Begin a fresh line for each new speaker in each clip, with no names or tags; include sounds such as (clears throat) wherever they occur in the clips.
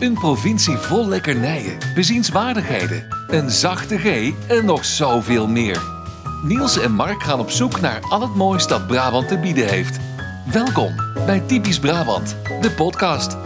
Een provincie vol lekkernijen, bezienswaardigheden, een zachte G en nog zoveel meer. Niels en Mark gaan op zoek naar al het moois dat Brabant te bieden heeft. Welkom bij Typisch Brabant, de podcast.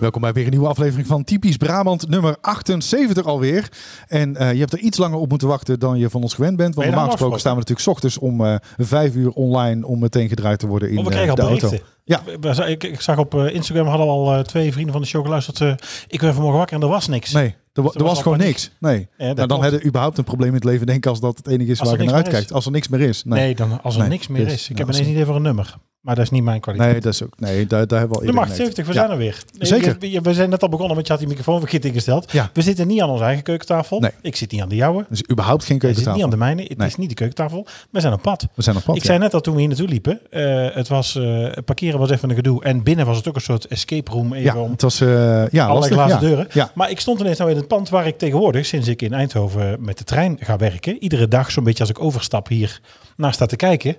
Welkom bij weer een nieuwe aflevering van Typisch Brabant, nummer 78 alweer. En eh, je hebt er iets langer op moeten wachten dan je van ons gewend bent.
Ben
Want
je
normaal
nou
gesproken staan we natuurlijk 's ochtends om eh vijf uur online om meteen gedraaid te worden in
Oh, we
eh,
kregen
de
al
auto.
berichten.
Ja,
We za- Ik, ik zag op eh, Instagram hadden we al eh, twee vrienden van de show geluisterd. eh, ik werd vanmorgen wakker en er was niks.
nee, er, wa-
was
er was
al
gewoon
paniek.
niks. Nee.
dat
nou, dan
klopt.
hebben we überhaupt een probleem in het leven, denk ik, als dat het enige is
Als
waar
er
je naar
niks meer
uitkijkt.
is.
Als er niks meer is.
Nee,
Nee,
dan, als er
Nee,
niks meer
dus,
is. Ik
ja,
heb
als
ineens
er-
idee voor een nummer. Maar dat is niet mijn kwaliteit.
nee. dat is ook. Nee, daar, daar hebben we al
De
eerder
macht
mee.
70, we
Ja.
zijn er weer. Nee,
Zeker.
je- je- we zijn net al begonnen, want je had die microfoon verkeerd ingesteld.
Ja.
We zitten niet aan onze eigen keukentafel.
Nee.
Ik zit niet aan de jouwe.
Dus überhaupt geen
Je zit niet aan
keukentafel.
de mijne. Het
Nee.
is niet de keukentafel. We zijn op pad.
We zijn op pad.
ik
ja.
zei net al toen we hier naartoe liepen, eh, het was, eh, parkeren was even een gedoe. En binnen was het ook een soort escape room. Even
ja,
om
het was eh ja,
Alle
lastig.
glazen
ja.
deuren.
Ja.
Maar ik stond ineens nou in het pand waar ik tegenwoordig, sinds ik in Eindhoven met de trein ga werken, iedere dag zo'n beetje als ik overstap hier naar sta te kijken.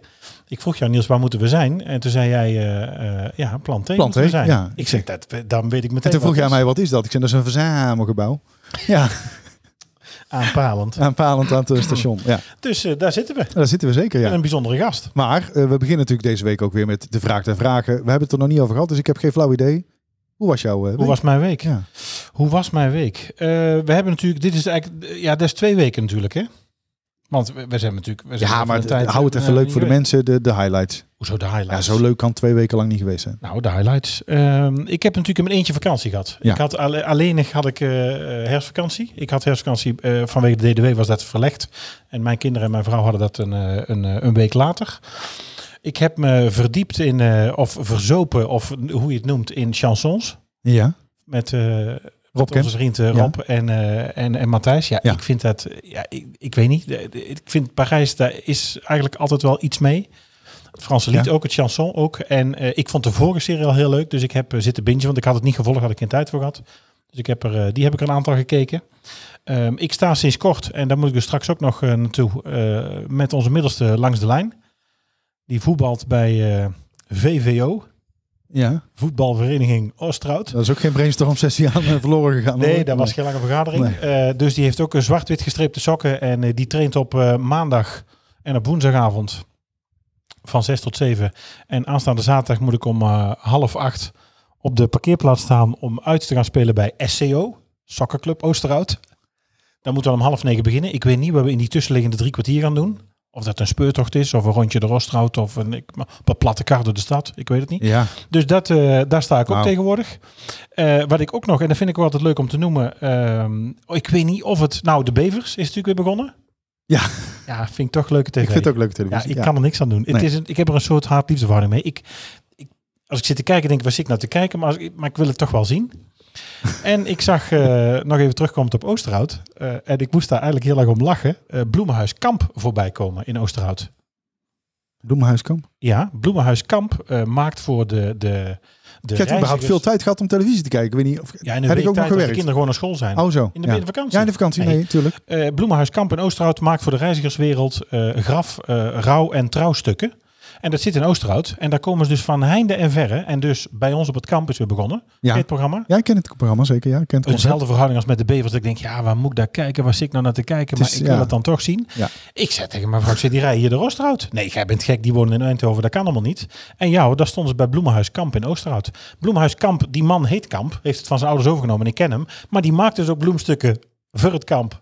Ik vroeg jou, Niels, waar moeten we zijn? En toen zei jij, eh, eh, ja, plan T.
Plan
moeten we
T,
zijn.
ja.
Ik zeg, dat, dan weet ik meteen.
En toen vroeg
wat
jij
het
mij, wat is dat? Ik zei, dat is een verzamelgebouw. (laughs) Ja,
is. Aanpalend.
aanpalend (laughs) aan het station. Ja,
Dus eh, daar zitten we.
Nou, daar zitten we zeker,
En
ja.
een bijzondere gast.
Maar eh, we beginnen natuurlijk deze week ook weer met de vraag der vragen. We hebben het er nog niet over gehad, dus ik heb geen flauw idee. Hoe was jouw eh,
Hoe
week?
was mijn week?
Ja.
Hoe was mijn week? Eh, we hebben natuurlijk, dit is eigenlijk, eh, ja, dat is twee weken natuurlijk, hè? Want we, we zijn natuurlijk... We zijn
Ja,
even
maar
een
d-
tijd,
hou het
eh,
even leuk voor de
niet
mensen, de, de highlights.
geweest. Hoezo de
Ja,
highlights?
zo leuk kan twee weken lang niet geweest zijn.
Nou, de highlights. Ehm, ik heb natuurlijk in mijn eentje vakantie gehad.
Ja.
Ik had alle- alleenig had ik eh, herfstvakantie. Ik had herfstvakantie eh, vanwege de DDW was dat verlegd. En mijn kinderen en mijn vrouw hadden dat een, eh, een, eh, een week later. Ik heb me verdiept in, eh, of verzopen, of hoe je het noemt, in chansons.
Ja,
Met, eh,
Rob
met
Kemp.
onze vriend eh, Rob en, eh, en, en Matthijs. Ja,
Ja.
ik vind dat, eh, ja, ik, ik weet niet. De- de- Ik vind Parijs, daar is eigenlijk altijd wel iets mee. Het Franse lied
Ja.
ook, het chanson ook. En eh, ik vond de vorige serie al heel leuk. Dus ik heb eh, zitten bingen, want ik had het niet gevolgd, had ik geen tijd voor gehad. Dus ik heb er, eh, die heb ik er een aantal gekeken. Ehm, ik sta sinds kort, en daar moet ik dus straks ook nog eh, naartoe, eh, met onze middelste langs de lijn. Die voetbalt bij eh, VVO,
Ja,
voetbalvereniging Oosterhout.
dat is ook geen brainstorm sessie aan eh, verloren gegaan.
Nee,
hoor.
daar was geen lange vergadering. Eh, dus die heeft ook een zwart-wit gestreepte sokken. En eh, die traint op eh, maandag en op woensdagavond van 6 tot 7. En aanstaande zaterdag moet ik om eh, half acht op de parkeerplaats staan om uit te gaan spelen bij SCO, Sokkerclub Oosterhout. Dan moeten we om half negen beginnen. Ik weet niet wat we in die tussenliggende drie kwartier gaan doen. Of dat een speurtocht is, of een rondje de Oosterhout, of een, ik, op een platte kar door de stad. Ik weet het niet.
Ja,
Dus dat, eh, daar sta ik ook
Wauw.
tegenwoordig. Eh, wat ik ook nog, en dat vind ik wel altijd leuk om te noemen. ehm, oh, ik weet niet of het... Nou, de Bevers is natuurlijk weer begonnen.
Ja.
Ja, vind ik toch leuke tv.
ik vind het ook leuke
ja,
televisie.
ik kan er niks aan doen. Het
Nee.
is een, ik heb er een soort haat-liefdeverhouding mee. Ik, ik, als ik zit te kijken, denk ik, waar zit ik nou te kijken? Maar, als ik- maar ik wil het toch wel zien.
(laughs)
en ik zag, eh, nog even terugkomend op Oosterhout. eh, en ik moest daar eigenlijk heel erg om lachen. eh, Bloemenhuis Kamp voorbij komen in Oosterhout.
Bloemenhuiskamp.
Ja, Bloemenhuis Kamp eh, maakt voor de, de, de
Ik heb überhaupt veel tijd gehad om televisie te kijken. Ik weet niet of...
Ja, in de
Heb ik ook nog
weektijd dat de
gewerkt?
kinderen gewoon naar school zijn.
Oh zo.
in de
ja.
vakantie.
ja, in de vakantie.
Nee.
Nee, tuurlijk.
Eh, Bloemenhuis Kamp in Oosterhout maakt voor de reizigerswereld eh, graf, eh, rouw en trouwstukken. En dat zit in Oosterhout. En daar komen ze dus van heinde en verre. En dus bij ons op het kamp is weer begonnen.
Ja.
Dit programma.
Ja, ik ken het programma zeker. Ja, ik ken het concept.
Eenzelfde verhouding als met de bevers. Dat ik denk, ja, waar moet ik daar kijken? Waar zit ik nou naar te kijken?
Het
Maar
is-
ik wil
ja.
het dan toch zien.
Ja.
Ik zei tegen mijn vrouw, ik zit die rij hier de Oosterhout? Nee, jij bent gek, die wonen in Eindhoven, dat kan allemaal niet. En ja, hoor, daar stonden ze bij Bloemenhuis Kamp in Oosterhout. Bloemenhuis Kamp, die man heet Kamp, heeft het van zijn ouders overgenomen en ik ken hem. Maar die maakt dus ook bloemstukken voor het kamp.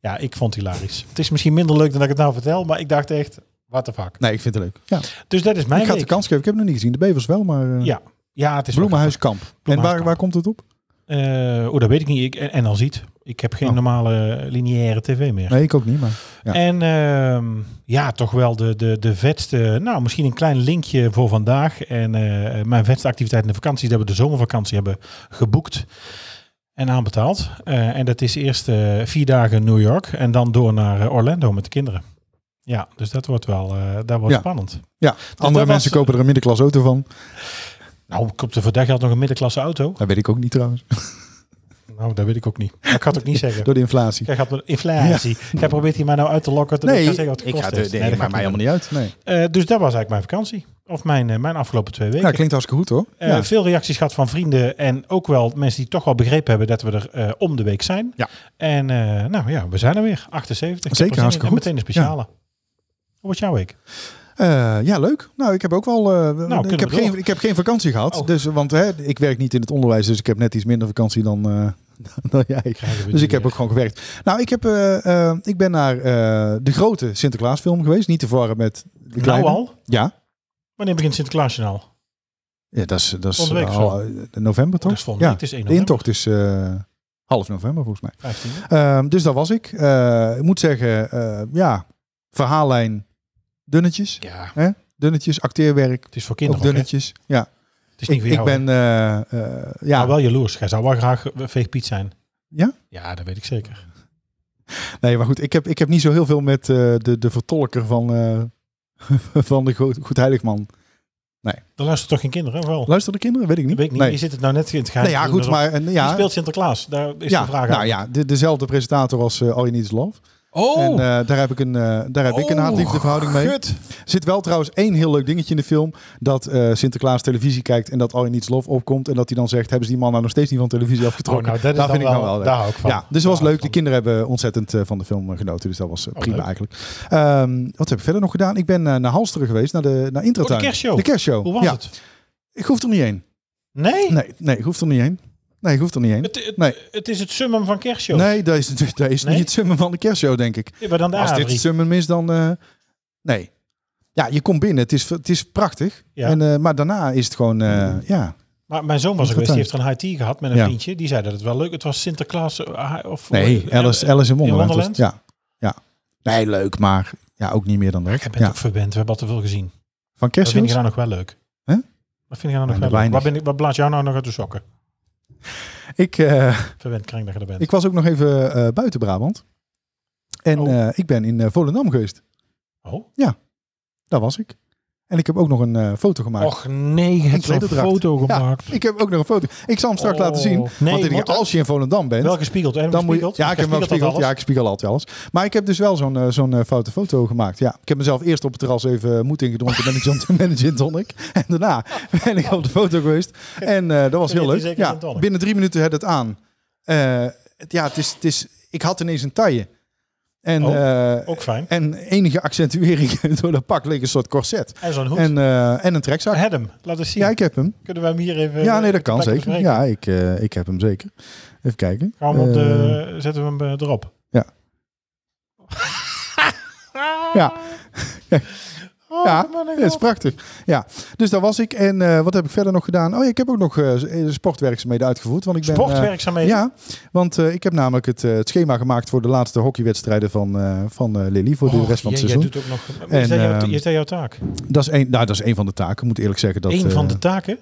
Ja, ik vond het hilarisch. Het is misschien minder leuk dan dat ik het nou vertel, maar ik dacht echt, what the fuck.
Nee, ik vind het leuk. Ja.
Dus dat is mijn
ik ga het de
week.
kans geven. Ik heb het nog niet gezien. De Bevers wel, maar... eh,
Ja. ja, het is wel
Bloemenhuiskamp. En waar,
Bloemenhuiskamp.
waar komt het op?
Eh, oh, dat weet ik niet. Ik, en, en al ziet. Ik heb geen
Oh.
normale eh, lineaire tv meer.
Nee, ik ook niet, maar... Ja.
En ehm, ja, toch wel de, de, de vetste. Nou, misschien een klein linkje voor vandaag. En eh, mijn vetste activiteit in de vakantie is dat we de zomervakantie hebben geboekt en aanbetaald. Eh, en dat is eerst eh, vier dagen New York en dan door naar eh, Orlando met de kinderen. Ja, dus dat wordt wel eh dat wordt
Ja.
spannend.
Ja, andere
dat
mensen
was-
kopen er een middenklasse auto van.
Nou, komt er voor dat geld nog een middenklasse auto?
Dat weet ik ook niet trouwens.
Nou, dat weet ik ook niet. Maar ik ga het
(laughs)
ook niet zeggen.
Door de inflatie.
Jij gaat met inflatie. Jij probeert hier mij nou uit te lokken. terwijl ik ga zeggen wat het
ik
gekost
ga de,
heeft.
nee,
Nee, dat
maakt
gaat
mij
niet
helemaal niet uit. Nee.
Eh, dus dat was eigenlijk mijn vakantie. Of mijn, eh, mijn afgelopen twee weken.
Ja, klinkt hartstikke goed hoor.
Eh,
ja.
Veel reacties gehad van vrienden en ook wel mensen die toch wel begrepen hebben dat we er eh, om de week zijn.
Ja.
En eh, nou ja, we zijn er weer. 78. Ik
Zeker,
heb er zin in.
hartstikke
En
goed.
meteen een speciale. Hoe wordt jouw week?
Eh, ja, leuk. Nou, ik heb ook wel. eh, ik,
kunnen
heb
we
geen,
door.
ik heb geen vakantie gehad.
Oh.
Dus, want hè, ik werk niet in het onderwijs, dus ik heb net iets minder vakantie dan, eh, (laughs) dan jij. Dus
Krijgen we die eh,
ik heb
weer.
ook gewoon gewerkt. Nou, ik, heb, eh, eh, ik ben naar eh, de grote Sinterklaasfilm geweest. Niet te verwarren met de kleine. Oh,
Nou al?
Ja.
Wanneer begint Sinterklaasjournaal?
Ja, dat is, dat is
Volgende week
al, eh, november toch?
Dat is volgende
ja.
week. Het is 1
De intocht is eh, half november volgens mij.
15.
Ehm, dus dat was ik. Eh, ik moet zeggen, eh, ja, verhaallijn dunnetjes.
Ja,
Dunnetjes, acteerwerk,
het is voor
ook
kinderen ook, hè?
dunnetjes. Ja,
Het is niet
ik, ik
voor jou. hè?
ben, eh, eh, ja,
Maar wel jaloers. Jij zou wel graag veegpiet zijn.
Ja?
Ja, dat weet ik zeker.
nee, maar goed, ik heb, ik heb niet zo heel veel met eh, de, de vertolker van, eh, (laughs) van de Goed, Goedheiligman.
Dan luisteren toch geen kinderen, of wel?
Luisteren de kinderen? Weet ik niet.
Dat weet ik niet.
Nee.
Je zit het nou net in het geheim.
Nee, ja,
te doen,
goed,
alsof-
maar eh,
Wie
ja,
speelt Sinterklaas? Daar is
ja,
de vraag
nou
aan.
ja, de, dezelfde presentator als eh, All You Need Is Love.
Oh,
En eh, daar heb ik een, eh, daar heb ik een
Oh,
haat-liefde verhouding mee.
gut.
zit wel trouwens één heel leuk dingetje in de film. Dat eh, Sinterklaas televisie kijkt en dat al in iets lof opkomt. En dat hij dan zegt, hebben ze die man nou nog steeds niet van televisie
Oh,
afgetrokken?
nou, dat is
Daar
dan
vind ik nou wel leuk.
Daar hou ik van.
ja, dus het was
Daar hou
leuk.
ik
De
van.
kinderen hebben ontzettend eh, van de film eh, genoten. Dus dat was eh,
Oh,
prima
leuk.
eigenlijk. Ehm, wat heb ik verder nog gedaan? Ik ben eh, naar Halsteren geweest, naar de naar Intratuin.
Oh, de kerstshow.
De kerstshow.
Hoe was
ja.
het?
Ik hoef er niet heen.
Nee?
Nee, nee, ik hoef er niet heen. Nee, ik hoef er niet heen.
Het, het,
Nee.
het is het summum van kerstshow.
Nee, dat is, (laughs) dat is
Nee?
niet het summen van de kerstshow, denk ik.
Nou Ja, maar dan de
Als dit
Avri.
Summen is, dan... eh, nee. Ja, je komt binnen. Het is, het is prachtig.
Ja. Mm.
En, eh, maar daarna is het gewoon... eh, ja.
Maar mijn zoon was
Goed
er geweest, die
dan.
heeft er een high tea gehad met een
Ja.
vriendje. Die zei dat het wel leuk Het was Sinterklaas eh, hi- of...
Nee,
eh,
Alice, Alice in Wonderland. was het.
Wonderland?
Ja. ja. Nee, leuk, maar ja, ook niet meer dan
eh, Ik
dat.
ben
Ja.
ook verwend, we hebben al te veel gezien.
Van
Dat vind ik
kerstmis?
nou nog wel leuk.
Hè?
Dat vind ik nou nog
Ja,
wel leuk.
weinig.
Waar, ben ik, waar blaas jou nou nog uit de sokken?
Ik, eh,
Verwend kring dat je er bent.
ik was ook nog even eh, buiten Brabant. En
Oh.
eh, ik ben in eh, Volendam geweest.
oh?
Daar was ik. En ik heb ook nog een eh, foto gemaakt.
Och nee, je hebt zo'n
klederdracht.
foto
Ja.
gemaakt.
Ik heb ook nog een foto. Ik zal hem straks
Oh.
laten zien.
Nee,
want ik denk,
want dat-
als je in Volendam bent,
Wel gespiegeld,
Dan
en
moet je,
gespiegeld?
ja, ik heb hem wel gespiegeld. Ja,
altijd
ik spiegel altijd alles. Maar ik heb dus wel zo'n eh, zo'n eh, foute foto gemaakt. Ja, ik heb mezelf eerst op het terras even eh, moed ingedronken met een gin- (laughs) met een gin tonic. En daarna (laughs) ben ik op de foto geweest. En eh, dat was
Dan
heel
heeft
leuk.
hij zeker
Ja,
gin tonic.
binnen drie minuten had het aan. Eh, het- ja, het is, het is, ik had ineens een taille. En,
Oh,
eh,
Ook fijn.
en enige accentuering (laughs) door dat pak leek een soort corset.
En zo'n hoed.
En, eh, en een trekzak.
Had hem. Laat eens zien.
Ja, ik heb hem.
Kunnen we hem hier even...
Ja,
eh,
nee, dat kan
lekker
zeker. Ja,
bespreken?
ik, eh, ik heb hem zeker. Even kijken.
Gaan we hem op
Eh,
de, zetten we hem eh, erop? (laughs)
ja. Ja.
Oh,
Ja,
man, ik
Ja, dat is
hoop-
prachtig. Ja, dus daar was ik. En eh, wat heb ik verder nog gedaan? Oh ja, ik heb ook nog eh, sportwerkzaamheden uitgevoerd. Want ik ben, eh,
Sportwerkzaamheden?
ja, want eh, ik heb namelijk het, eh, het schema gemaakt voor de laatste hockeywedstrijden van, eh van eh, Lily. Voor de
Och,
rest van het
jij-
seizoen.
Jij doet ook nog...
En,
is, dat jouw,
ehm,
is dat jouw taak?
Dat, is één, nou, dat is één van de taken, Ik moet eerlijk zeggen. Dat,
Eén van
eh,
de taken?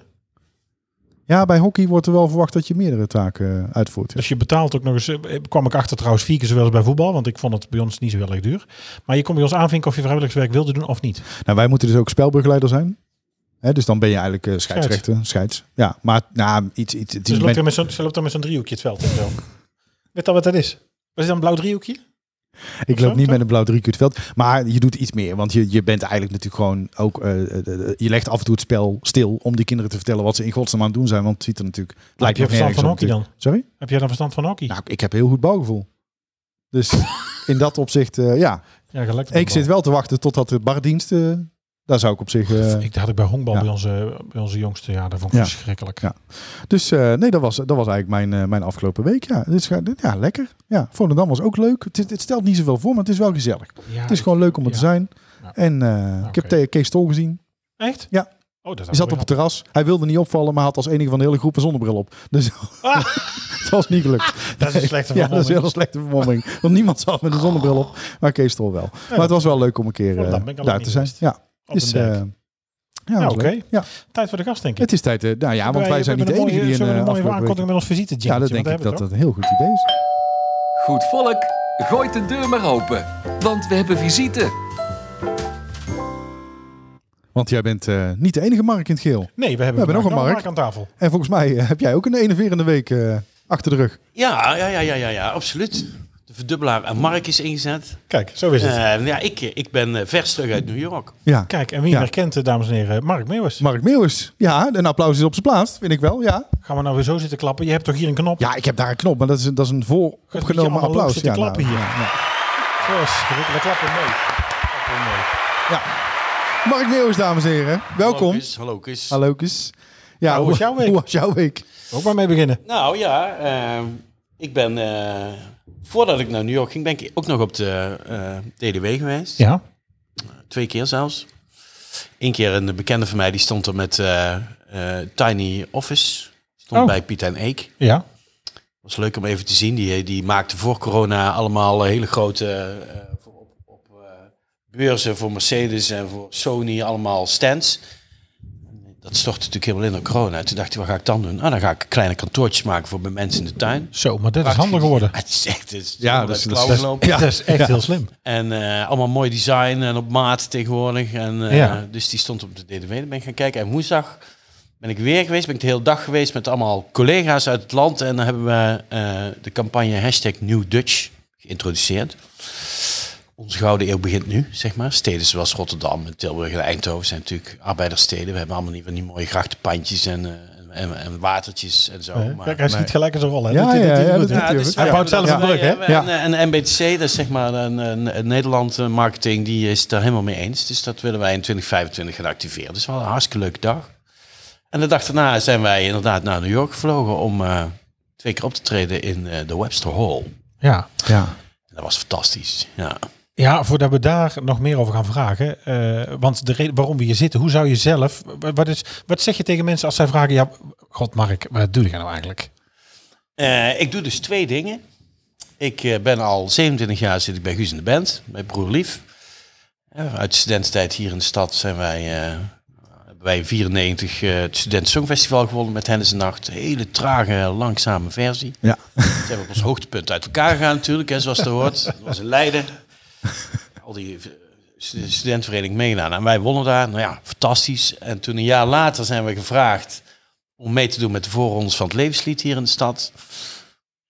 ja, bij hockey wordt er wel verwacht dat je meerdere taken eh, uitvoert. ja.
Dus je betaalt ook nog eens... eh, kwam ik achter trouwens vier keer zowel als bij voetbal. Want ik vond het bij ons niet zo heel erg duur. Maar je kon bij ons aanvinken of je vrijwilligerswerk wilde doen of niet.
Nou, wij moeten dus ook spelbegeleider zijn. Hè, dus dan ben je eigenlijk eh, scheidsrechter, scheids. Ja, maar nou, iets... iets, iets
Dus
men-
loopt er met zo'n, ze loopt dan met zo'n driehoekje het veld in zo. Weet al wat dat is? Wat is dat, een blauw driehoekje?
Ik
Of zo,
loop niet
toch?
met een blauw driehoek het veld. Maar je doet iets meer. Want je, je bent eigenlijk natuurlijk gewoon ook... eh, eh, eh, je legt af en toe het spel stil om die kinderen te vertellen wat ze in godsnaam aan het doen zijn. Want het ziet er natuurlijk... het
Heb
lijkt
je
nog nergens
verstand van
op
hockey dan?
natuurlijk. Sorry?
Heb jij dan verstand van hockey?
Nou, ik heb heel goed bouwgevoel.
(laughs)
Dus in dat opzicht, eh, ja.
ja, gelijk.
Ik zit wel te wachten totdat de bardienst... eh, daar zou ik op zich... eh,
Ik had ik bij honkbal
Ja.
bij, onze, bij onze jongste. Ja, dat vond ik
Ja.
verschrikkelijk.
Ja. dus eh, nee, dat was, dat was eigenlijk mijn, eh, mijn afgelopen week. Ja, dus, eh, ja lekker. Ja, Volendam was ook leuk. Het, het stelt niet zoveel voor, maar het is wel gezellig.
Ja,
Het is gewoon leuk om er
ja.
te zijn.
Ja.
En eh, ik heb
Oké.
Ke- Kees Tol gezien.
Echt?
Ja.
Oh, dat
Hij zat op het terras. Hij wilde niet opvallen, maar had als enige van de hele groep een zonnebril op. Dus (laughs)
Ah.
het was niet gelukt.
Dat is een
(laughs)
slechte
Ja, dat is
vermomming.
een hele slechte vermomming. Want niemand zat met een zonnebril op, maar Kees Tol wel. Maar het was wel leuk om een keer eh,
Volendam ben ik al
daar
lang
te
niet
zijn.
geweest.
Ja,
Op
dus,
een dijk.
eh, ja,
Nou,
was leuk.
oké.
ja,
Tijd voor de gast, denk ik.
het is tijd. eh, nou ja, want wij zijn niet de
hebben een
enige die
mooie-
een
zullen we
eh,
een mooie
afgelopen
aankondiging
week-
met ons visite
Ja, dat denk ik dat eh. dat een heel goed idee is.
goed volk, gooit de deur maar open, want we hebben visite.
Want jij bent eh, niet de enige Mark in het geel.
Nee, we hebben,
We hebben nog
vandaag
een
nog een
markt.
Nou, aan tafel.
En volgens mij eh, heb jij ook een enerverende week eh, achter de rug.
Ja, ja, ja, ja, ja, ja absoluut. De de verdubbelaar en Mark is ingezet.
Kijk, zo is het.
Eh, ja, ik, ik ben eh, vers terug uit New York.
Ja.
Kijk, en wie
Ja.
herkent, eh, dames en heren, Mark Meeuwis.
Mark Meeuwis. Ja, een applaus is op zijn plaats, vind ik wel. Ja,
Gaan we nou weer zo zitten klappen? Je hebt toch hier een knop?
ja ik heb daar een knop, maar dat is, dat is een
Gaat het met je
vooropgenomen
allemaal
applaus.
lopen zitten
Ja, nou,
klappen hier?
ja, ja.
Verschrikkelijk. Klappen mee. Klappen mee.
Mark Meeuwis, dames en heren. Welkom.
Hallo, Kus. Hallo, Kus.
Hallo, Kus. Ja,
Hoe was jouw
(laughs)
week?
Hoe was jouw week?
Ook maar mee beginnen.
Nou ja, ehm, ik ben... eh, voordat ik naar New York ging, ben ik ook nog op de eh DDW geweest.
Ja.
Twee keer zelfs. Eén keer een bekende van mij, die stond er met eh, eh, Tiny Office. Stond
Oh.
bij Piet en Eek.
Ja.
was leuk om even te zien. Die, die maakte voor corona allemaal hele grote eh, voor- op, op eh, beurzen voor Mercedes en voor Sony allemaal stands. Dat stortte natuurlijk helemaal in door corona. Toen dacht ik, wat ga ik dan doen? Ah, dan ga ik kleine kantoortjes maken voor bij mensen in de tuin. (laughs)
Zo, maar dat is handig geworden.
Het is echt, het is
Ja,
helemaal
dat is-
uit de
dat is-
klauwen
dat
gelopen.
is- Ja.
Dat is (laughs) echt
Ja.
heel slim.
En eh, allemaal mooi design en op maat tegenwoordig. En, eh,
Ja.
Dus die stond op de DDW. Dan ben ik gaan kijken. En woensdag ben ik weer geweest. Ben ik de hele dag geweest met allemaal collega's uit het land. En dan hebben we eh, de campagne hashtag New Dutch geïntroduceerd. Onze gouden eeuw begint nu, zeg maar. Steden zoals Rotterdam en Tilburg en Eindhoven zijn natuurlijk arbeiderssteden. We hebben allemaal niet van die mooie grachtenpandjes en, eh, en, en watertjes en zo.
Eh,
maar-
Kijk, hij schiet
maar-
gelijk eens een rol. hè.
Ja,
Doet hij-
ja,
doet hij
ja, dat
goed, hè?
doet hij.
dus
Hij
wij
bouwt
hebben
zelf
dat-
een brug, hè?
wij hebben
Ja.
Een, een NBTC, dat is zeg maar een, een, een Nederland eh, marketing, die is daar helemaal mee eens. Dus dat willen wij in 2025 gaan activeren. Dus wel een hartstikke leuke dag. En de dag daarna zijn wij inderdaad naar New York gevlogen om eh, twee keer op te treden in eh, de Webster Hall.
Ja.
Ja.
En dat was fantastisch. Ja.
Ja, voordat we daar nog meer over gaan vragen. eh, want de reden waarom we hier zitten, hoe zou je zelf. wa- Wat, is, wat zeg je tegen mensen als zij vragen: Ja, God, Mark, wat doe je nou eigenlijk?
Eh, ik doe dus twee dingen. Ik eh, ben al 27 jaar zit ik bij Guus in de Band, bij Broer Lief. Eh, uit de studententijd hier in de stad zijn wij, eh, hebben wij in 94 eh, het Student Songfestival gewonnen met Hen is een Nacht. Hele trage, langzame versie.
Ja.
Ze hebben op ons hoogtepunt uit elkaar gegaan natuurlijk, hè, zoals het hoort. Dat was in Leiden. Al die eh, stu- studentenvereniging meegedaan. En wij wonnen daar. Nou ja, fantastisch. En toen een jaar later zijn we gevraagd om mee te doen met de voorrondes van het levenslied hier in de stad.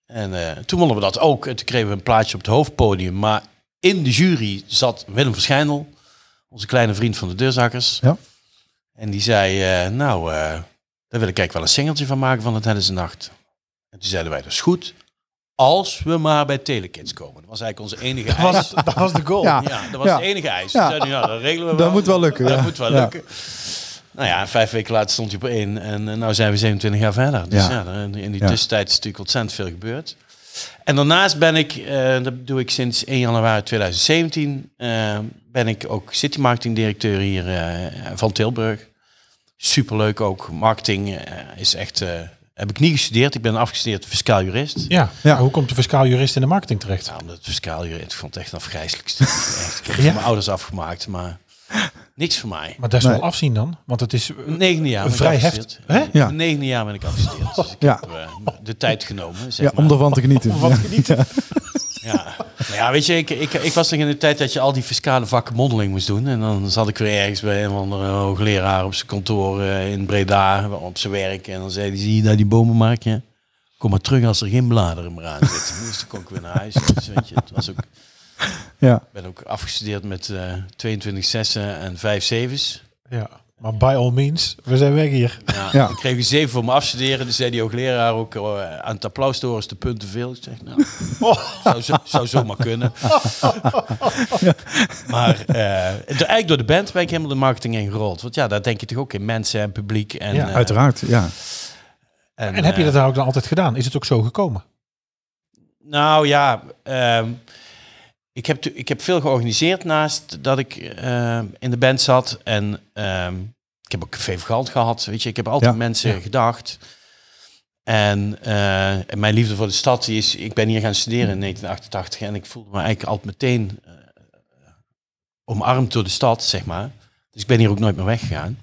En eh, toen wonnen we dat ook. En toen kregen we een plaatje op het hoofdpodium. Maar in de jury zat Willem Verschijndel, onze kleine vriend van de deurzakkers.
Ja.
En die zei, eh, nou, eh, daar wil ik eigenlijk wel een singeltje van maken van het Hennis Nacht. En toen zeiden wij, dat is goed. Als we maar bij Telekids komen. Dat was eigenlijk onze enige eis.
was, dat was de goal.
Ja.
Ja, dat was
Ja.
de enige eis.
Ja.
Toen zeiden we, nou, dat regelen we
Dat
wel.
moet wel lukken,
Dat
ja.
moet wel
Ja.
lukken. Nou ja, vijf weken later stond je op één. En eh, nou zijn we 27 jaar verder. Dus
Ja.
ja, in- in die
Ja.
tussentijd is natuurlijk ontzettend veel gebeurd. En daarnaast ben ik, eh, dat doe ik sinds 1 januari 2017, eh, ben ik ook city marketing directeur hier eh, van Tilburg. Superleuk ook. Marketing eh, is echt, eh, heb ik niet gestudeerd. Ik ben afgestudeerd fiscaal jurist.
Ja.
Ja.
Maar Hoe komt de fiscaal jurist in de marketing terecht?
Ja, omdat het fiscaal jurist, ik vond het echt een
(laughs)
afgrijzelijk studie. Echt, ik heb het van mijn ouders afgemaakt, maar niks voor mij.
Maar dat is
Nee.
wel afzien dan. Want het is. eh,
Negende jaar ben ik
Vrij
afgestudeerd.
heft- hè?
Nee,
Ja.
Negende jaar ben ik afgestudeerd. Dus ik
Ja.
heb eh, de tijd genomen, zeg
Ja,
maar.
om ervan te genieten. (laughs) Ja.
Ja. Maar ja, weet je, ik, ik, ik was nog in de tijd dat je al die fiscale vakken mondeling moest doen. En dan zat ik weer ergens bij een of andere hoogleraar op zijn kantoor eh, in Breda, op zijn werk. En dan zei hij, zie je daar die bomen maken? Kom maar terug als er geen bladeren meer aan zitten. Dus toen kon ik weer naar huis. Dus, weet je, het was ook
Ja.
Ik ben ook afgestudeerd met eh 22 zessen en 5 zevens.
Ja. Maar by all means, we zijn weg hier.
Ja,
Ja.
Ik kreeg een 7 voor mijn afstuderen. Dus zei die hoogleraar ook eh, aan het applaus te horen is de punten veel. Ik zeg,
(laughs)
nou,
Oh.
zou, zo, zou zomaar kunnen. Maar eh, do- eigenlijk door de band ben ik helemaal de marketing ingerold. Want ja, daar denk je toch ook in mensen en publiek. En,
Ja,
eh,
Uiteraard, ja.
En heb je
eh,
dat dan ook dan altijd gedaan? Is het ook zo gekomen?
Nou ja, ehm, ik, heb, tu- ik heb veel georganiseerd naast dat ik ehm, in de band zat. En ehm, ik heb ook Café Vergald gehad. Weet je, ik heb altijd
Ja,
mensen gedacht. En, eh, en mijn liefde voor de stad die is... Ik ben hier gaan studeren
Mm.
in 1988 en ik voelde me eigenlijk altijd meteen eh, omarmd door de stad, zeg maar. Dus ik ben hier ook nooit meer weggegaan.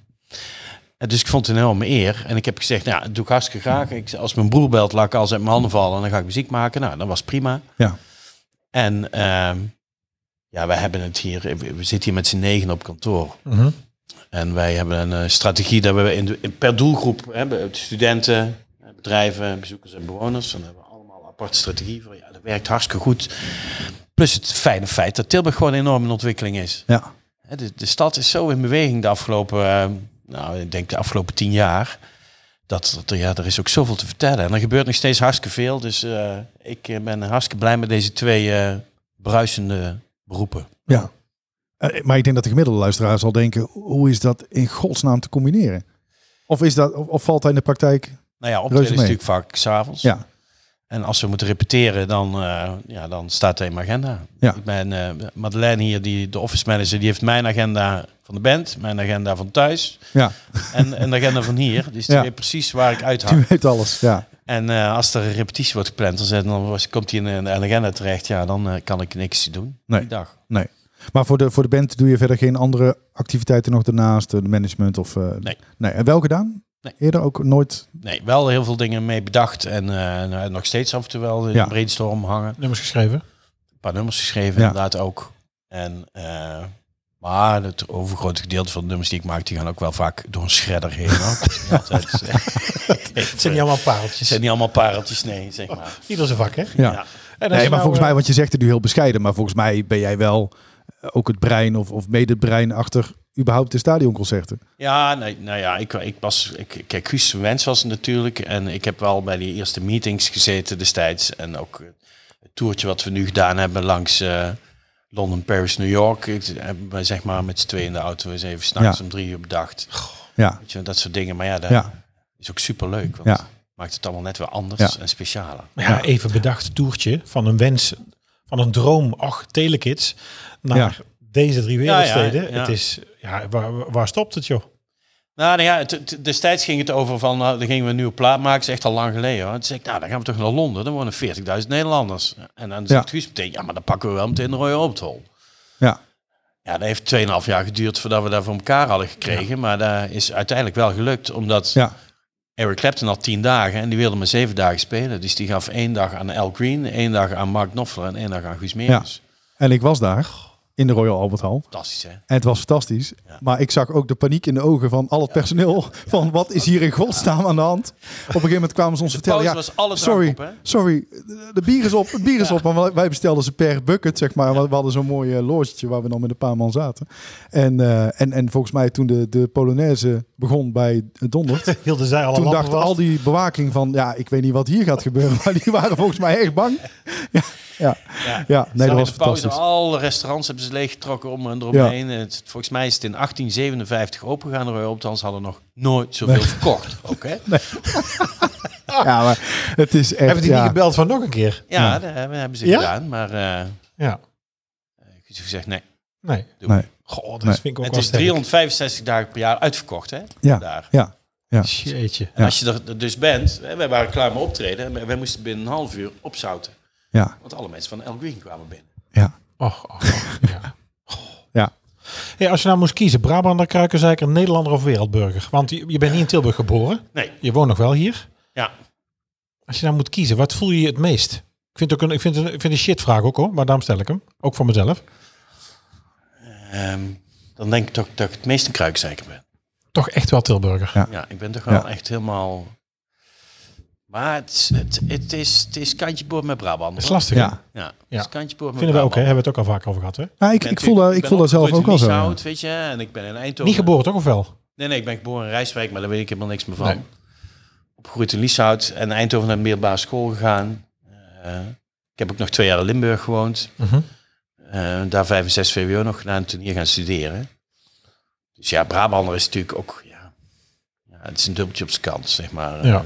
En dus ik vond het een enorme eer. En ik heb gezegd, nou, ja, dat doe ik hartstikke graag. Ik, als mijn broer belt, laat ik alles uit mijn handen vallen en dan ga ik muziek maken. Nou, dat was prima.
Ja.
En ehm, ja, wij hebben het hier, we we zitten hier met z'n negen op kantoor. En wij hebben een eh, strategie dat we in de- in- per doelgroep hebben. Studenten, eh, bedrijven, bezoekers en bewoners. En daar hebben we allemaal een aparte strategie voor. Ja, dat dat werkt hartstikke goed. Plus het fijne feit dat Tilburg gewoon enorm in ontwikkeling is.
Ja.
Hè, De, de stad is zo in beweging de afgelopen, eh, nou, ik denk de afgelopen tien jaar. Dat, dat er- ja, er is ook zoveel te vertellen. En er gebeurt nog steeds hartstikke veel. Dus eh, ik eh, ben hartstikke blij met deze twee eh, bruisende beroepen.
ja. Eh, maar ik denk dat de gemiddelde luisteraar zal denken, hoe is dat in godsnaam te combineren? Of, is dat, of, of valt hij in de praktijk?
Nou ja, optreden is
mee.
natuurlijk vaak s'avonds.
Ja.
En als we moeten repeteren, dan, eh, ja, dan staat hij in mijn agenda.
Ja.
Ik ben, eh, Madeleine hier, die, de office manager, die heeft mijn agenda van de band, mijn agenda van thuis
Ja,
en en de agenda van hier. Dus die
Ja.
weet precies waar ik
die
uithaal.
weet alles. Ja.
En eh, als er een repetitie wordt gepland, dan, zet- dan was- komt hij in een agenda terecht. Ja, dan eh, kan ik niks doen
Nee.
die dag.
Nee. Maar voor de, voor de band doe je verder geen andere activiteiten nog daarnaast, eh, de management of... eh,
Nee.
En wel gedaan?
Nee.
Eerder ook nooit?
Nee, wel heel veel dingen mee bedacht en eh, nou, nog steeds af en toe wel in
Ja.
de brainstorm hangen.
Nummers geschreven.
Een paar nummers geschreven
Ja.
inderdaad ook. En, eh, maar het overgrote gedeelte van de nummers die ik maak, die gaan ook wel vaak door een shredder heen. hoor. Het is niet altijd,
Het zijn niet allemaal pareltjes.
het zijn niet allemaal pareltjes, nee, zeg maar.
Ieder zijn vak, hè?
Ja.
Ja.
En als
Nee,
je
maar
nou,
volgens
eh,
mij, want je zegt het nu heel bescheiden, maar volgens mij ben jij wel eh, ook het brein of, of mede het brein achter überhaupt de stadionconcerten.
Ja, nee, nou ja, ik, ik was, ik, kijk, Guus zijn wens was het natuurlijk. En ik heb wel bij die eerste meetings gezeten destijds. En ook eh, het toertje wat we nu gedaan hebben langs eh, Londen, Paris, New York. Ik, eh, hebben wij zeg maar met z'n tweeën in de auto eens even s'nachts
Ja.
om drie uur bedacht.
Ja,
Weet je, dat soort dingen. Maar ja, dat
ja,
is ook superleuk. Want
ja,
maakt het allemaal net weer anders
Ja.
en specialer.
ja, even bedacht toertje van een wens, van een droom, ach, telekids, naar
Ja.
deze drie
Ja, ja,
wereldsteden.
ja.
Het is, ja, waar, waar stopt het, joh? (laughs)
Nou, nou ja, het- het- destijds ging het over van, nou, dan gingen we een nieuwe plaat maken. Dat is echt al lang geleden. Hoor. Toen zei ik, nou, dan gaan we toch naar Londen. Dan wonen 40.000 Nederlanders. En dan zegt Guus meteen, ja, maar dan pakken we wel meteen de Royal Albert
ja.
Ja, dat heeft 2,5 jaar geduurd voordat we dat voor elkaar hadden gekregen. Maar dat is uiteindelijk wel gelukt, omdat
ja.
Eric Clapton had 10 dagen en die wilde maar 7 dagen spelen. Dus die gaf één dag aan Al Green, één dag aan Mark Knopfler en één dag aan Guus Meeuwis.
En ik was daar in de Royal Albert Hall.
Fantastisch, hè?
En het was fantastisch. Maar ik zag ook de paniek in de ogen van al het personeel. Van wat is hier in godsnaam aan de hand? Op een gegeven moment kwamen ze ons vertellen.
pauze
Ja,
was alle drank
sorry,
op, hè?
sorry, de de bier is op, het bier is op. Maar wij bestelden ze per bucket, zeg maar. We hadden zo'n mooi eh, logetje waar we dan met een paar man zaten. En, eh, en, en volgens mij toen de, de Polonaise begon bij
(laughs)
Donderd.
Hielden zij al
Toen
een
dacht al die bewaking van, ja, ik weet niet wat hier gaat gebeuren. (laughs) Maar die waren volgens mij echt bang. (laughs) Ja, ja, ja. nee, dat
Staan in
was
de pauze,
fantastisch.
Alle restaurants hebben ze leeggetrokken om en eromheen. Het, volgens mij is het in 1857 opengegaan. De Royal Optans hadden nog nooit zoveel verkocht. Ook,
(laughs)
hè?
Ja, maar het is echt...
Hebben die
ja.
niet gebeld van nog een keer?
Ja, dat hebben, hebben ze
Ja?
gedaan. Maar eh
Ja.
ik heb gezegd, nee.
Nee.
Nee.
Goh, dat
Nee.
vind ik ook
Het
wel
is
sterk.
365 dagen per jaar uitverkocht, hè?
Ja.
Daar.
Ja, ja.
Jeetje.
En als je er dus bent, hè, wij waren klaar met optreden. En wij- wij moesten binnen een half uur opzouten.
Ja,
Want alle mensen van El Green kwamen binnen.
ja,
Och, och, och, ja. (laughs)
ja.
Hey, als je nou moest kiezen, Brabander, Kruikenzeiker, Nederlander of wereldburger? Want je, je bent niet in Tilburg geboren.
Nee,
Je woont nog wel hier.
ja.
Als je nou moet kiezen, wat voel je het meest? Ik vind het ook een, ik vind het een, ik vind het een shitvraag ook hoor, maar daarom stel ik hem. Ook voor mezelf.
Ehm, dan denk ik toch dat ik het meest een kruikzeiker ben.
Toch echt wel Tilburger.
Ja.
Ja, ik ben toch wel
Ja.
echt helemaal. Maar het, is- het, het, is, het is kantje boord met Brabant.
Dat is
hoor.
lastig. hè?
ja.
Ja, het
Ja.
is kantje boord met
Vinden we ook, hè?
Brabant.
Hebben we het ook al vaak over gehad, hè?
Nou, ik,
ben
ik voel,
natuurlijk-
dat- ik
ben
voel dat zelf ook
opgegroeid
wel zo.
in
ja.
Lieshout, weet je, en ik ben in Eindhoven.
Niet geboren, toch of wel?
Nee, nee, ik ben geboren in Rijswijk, maar daar weet ik helemaal niks meer van.
Nee.
Opgegroeid in Lieshout en in Eindhoven naar de middelbare school gegaan. Eh, ik heb ook nog twee jaar in Limburg gewoond.
Mhm.
Eh, daar vijf en zes VWO nog gedaan, toen hier gaan studeren. Dus ja, Brabander is natuurlijk ook, ja, ja het is een dubbeltje op zijn kant, zeg maar.
Ja.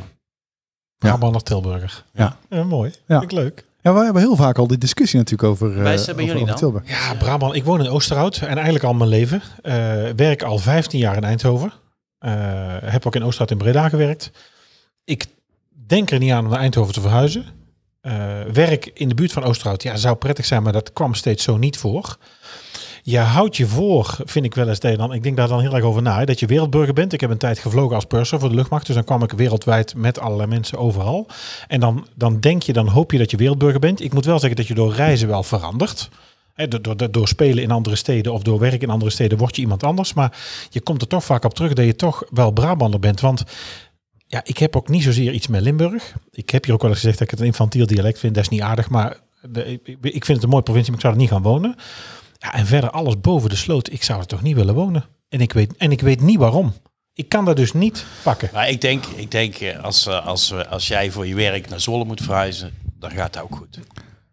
Brabander, Tilburger.
Ja.
Ja, mooi.
Ja.
Vind ik leuk.
we hebben heel vaak al die discussie natuurlijk over, eh,
Wijs hebben
over,
jullie
over
dan?
Tilburg.
Ja, Brabant. Ik woon in Oosterhout en eigenlijk al mijn leven. Eh, werk al 15 jaar in Eindhoven. Eh, heb ook in Oosterhout in Breda gewerkt. Ik denk er niet aan om naar Eindhoven te verhuizen. Eh, werk in de buurt van Oosterhout ja, zou prettig zijn, maar dat kwam steeds zo niet voor. Je houdt je voor, vind ik wel eens, Denan. Ik denk daar dan heel erg over na. hè, Dat je wereldburger bent. Ik heb een tijd gevlogen als purser voor de luchtmacht. Dus dan kwam ik wereldwijd met allerlei mensen overal. En dan, dan denk je, dan hoop je dat je wereldburger bent. Ik moet wel zeggen dat je door reizen wel verandert. Hè, door, door, door- door spelen in andere steden of door werk in andere steden word je iemand anders. Maar je komt er toch vaak op terug dat je toch wel Brabander bent. Want ja, ik heb ook niet zozeer iets met Limburg. Ik heb hier ook wel eens gezegd dat ik het een infantiel dialect vind. Dat is niet aardig, maar de, ik- ik ik vind het een mooie provincie, maar ik zou er niet gaan wonen. Ja, en verder alles boven de sloot. Ik zou er toch niet willen wonen. En ik weet, en ik weet niet waarom. Ik kan dat dus niet pakken.
Maar ik denk, ik denk eh, als, eh, als, eh, als jij voor je werk naar Zwolle moet verhuizen, dan gaat dat ook goed.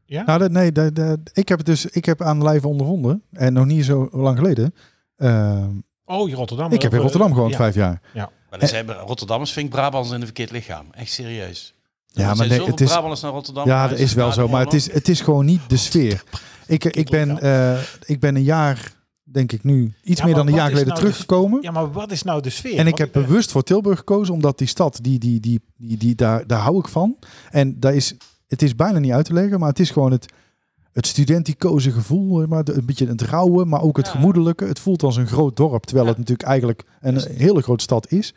Nou, dat, nee, dat, dat- ik heb het dus ik heb aan lijve ondervonden. En nog niet zo lang geleden. eh,
Oh, in Rotterdam.
ik heb in
Eh,
Rotterdam gewoond
ja.
vijf jaar.
Maar
Eh.
dan hebben Rotterdammers vind ik Brabants in een verkeerd lichaam. Echt serieus.
Ja,
Er
maar
zijn
nee,
zoveel
het is-
Brabanders naar Rotterdam.
Ja, dat
verhuisd,
is wel
naar
zo. Maar het
Holland.
is, het is gewoon niet de sfeer. Ik, ik, ben, eh, ik ben een jaar, denk ik nu, iets
Ja,
meer
maar
dan een jaar
wat is
geleden
nou de-
teruggekomen.
Ja, maar wat is nou de sfeer?
En ik
Want
heb
ben-
bewust voor Tilburg gekozen, omdat die stad, die, die, die, die, die, daar, daar hou ik van. En daar is, het is bijna niet uit te leggen, maar het is gewoon het, het studenticoze gevoel. hè, Maar de- een beetje het rauwe, maar ook het gemoedelijke. Het voelt als een groot dorp, terwijl het natuurlijk eigenlijk een hele grote stad is.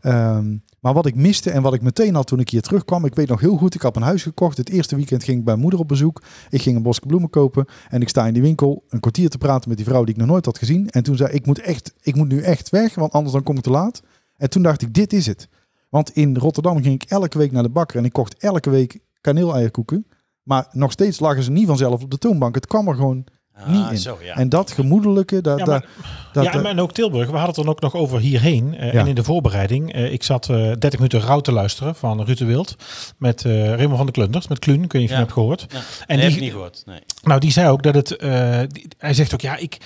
Ehm, maar wat ik miste en wat ik meteen had toen ik hier terugkwam, ik weet nog heel goed, ik had een huis gekocht. Het eerste weekend ging ik bij moeder op bezoek. Ik ging een bosje bloemen kopen en ik sta in die winkel een kwartier te praten met die vrouw die ik nog nooit had gezien. En toen zei ik, ik moet, echt, ik moet nu echt weg, want anders dan kom ik te laat. En toen dacht ik, dit is het. Want in Rotterdam ging ik elke week naar de bakker en ik kocht elke week kaneeleierkoeken. Maar nog steeds lagen ze niet vanzelf op de toonbank. Het kwam er gewoon niet in.
Ah, Zo, ja.
En dat gemoedelijke, dat...
Ja,
Ja,
maar-
dat,
ja, en- en ook Tilburg. We hadden het dan ook nog over hierheen. eh,
Ja.
En in de voorbereiding. eh, ik zat eh 30 minuten rauw te luisteren van Ruud de Wild. Met eh Raymond van de Klunders. Met Kluun, kun je van
Ja.
hebt gehoord.
Ja,
En
en die heb
die-
ik niet gehoord. Nee.
Nou, die zei ook dat het... eh, die- hij zegt ook, ja, ik...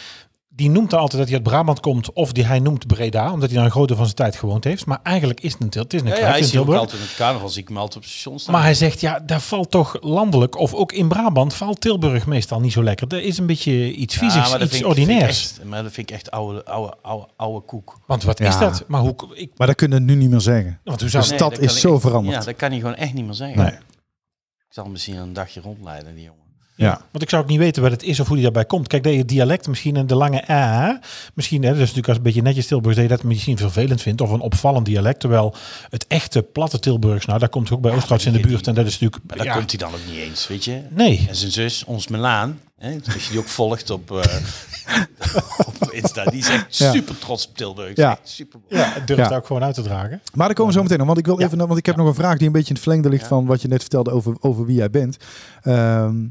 Die noemt dan altijd dat hij uit Brabant komt. Of die hij noemt Breda. Omdat hij daar een grote van zijn tijd gewoond heeft. Maar eigenlijk is het een, Til- het is een
Ja, ja,
kruidje
hij
in
is hier ook
Tilburg.
altijd in het carnaval. Zie ik hem altijd op het station staan.
Maar hij zegt, ja, daar valt toch landelijk, of ook in Brabant, valt Tilburg meestal niet zo lekker. Er is een beetje iets
Ja,
viezigs,
maar dat
iets
vind ik- vind ik
ordinairs.
echt- Maar dat vind ik echt oude, oude, oude, oude koek.
Want wat is
Ja.
dat? Maar hoe, ik,
maar dat kunnen we nu niet meer zeggen.
want hoe zou
Dus-
het?
stad
dat
is
kan
zo
ik-
veranderd.
Ja, dat kan hij gewoon echt niet meer zeggen.
Nee.
Ik zal hem misschien een dagje rondleiden, die jongen.
Ja.
Want ik zou ook niet weten wat het is of hoe die daarbij komt. Kijk, dat je dialect misschien en de lange A. Misschien, hè, dat is natuurlijk als een beetje netjes Tilburgs, dat je dat misschien vervelend vindt. Of een opvallend dialect. Terwijl het echte platte Tilburgs, nou, daar komt ook bij Oostrats in de
die-
buurt. En dat is
Maar
natuurlijk.
daar
ja,
komt hij dan ook niet eens, weet je.
Nee.
En zijn zus, ons Melaan, hè, als je die ook (laughs) volgt op, eh, op Insta, die is echt
Ja.
super trots op Tilburg.
Ja.
Ja. Super
Ja, het durft
Ja.
het ook gewoon uit te dragen.
Maar daar komen we zo meteen op. Want ik wil
Ja.
even, want ik heb nog een vraag die een beetje in het verlengde ligt
Ja.
van wat je net vertelde over, over wie jij bent. Ehm,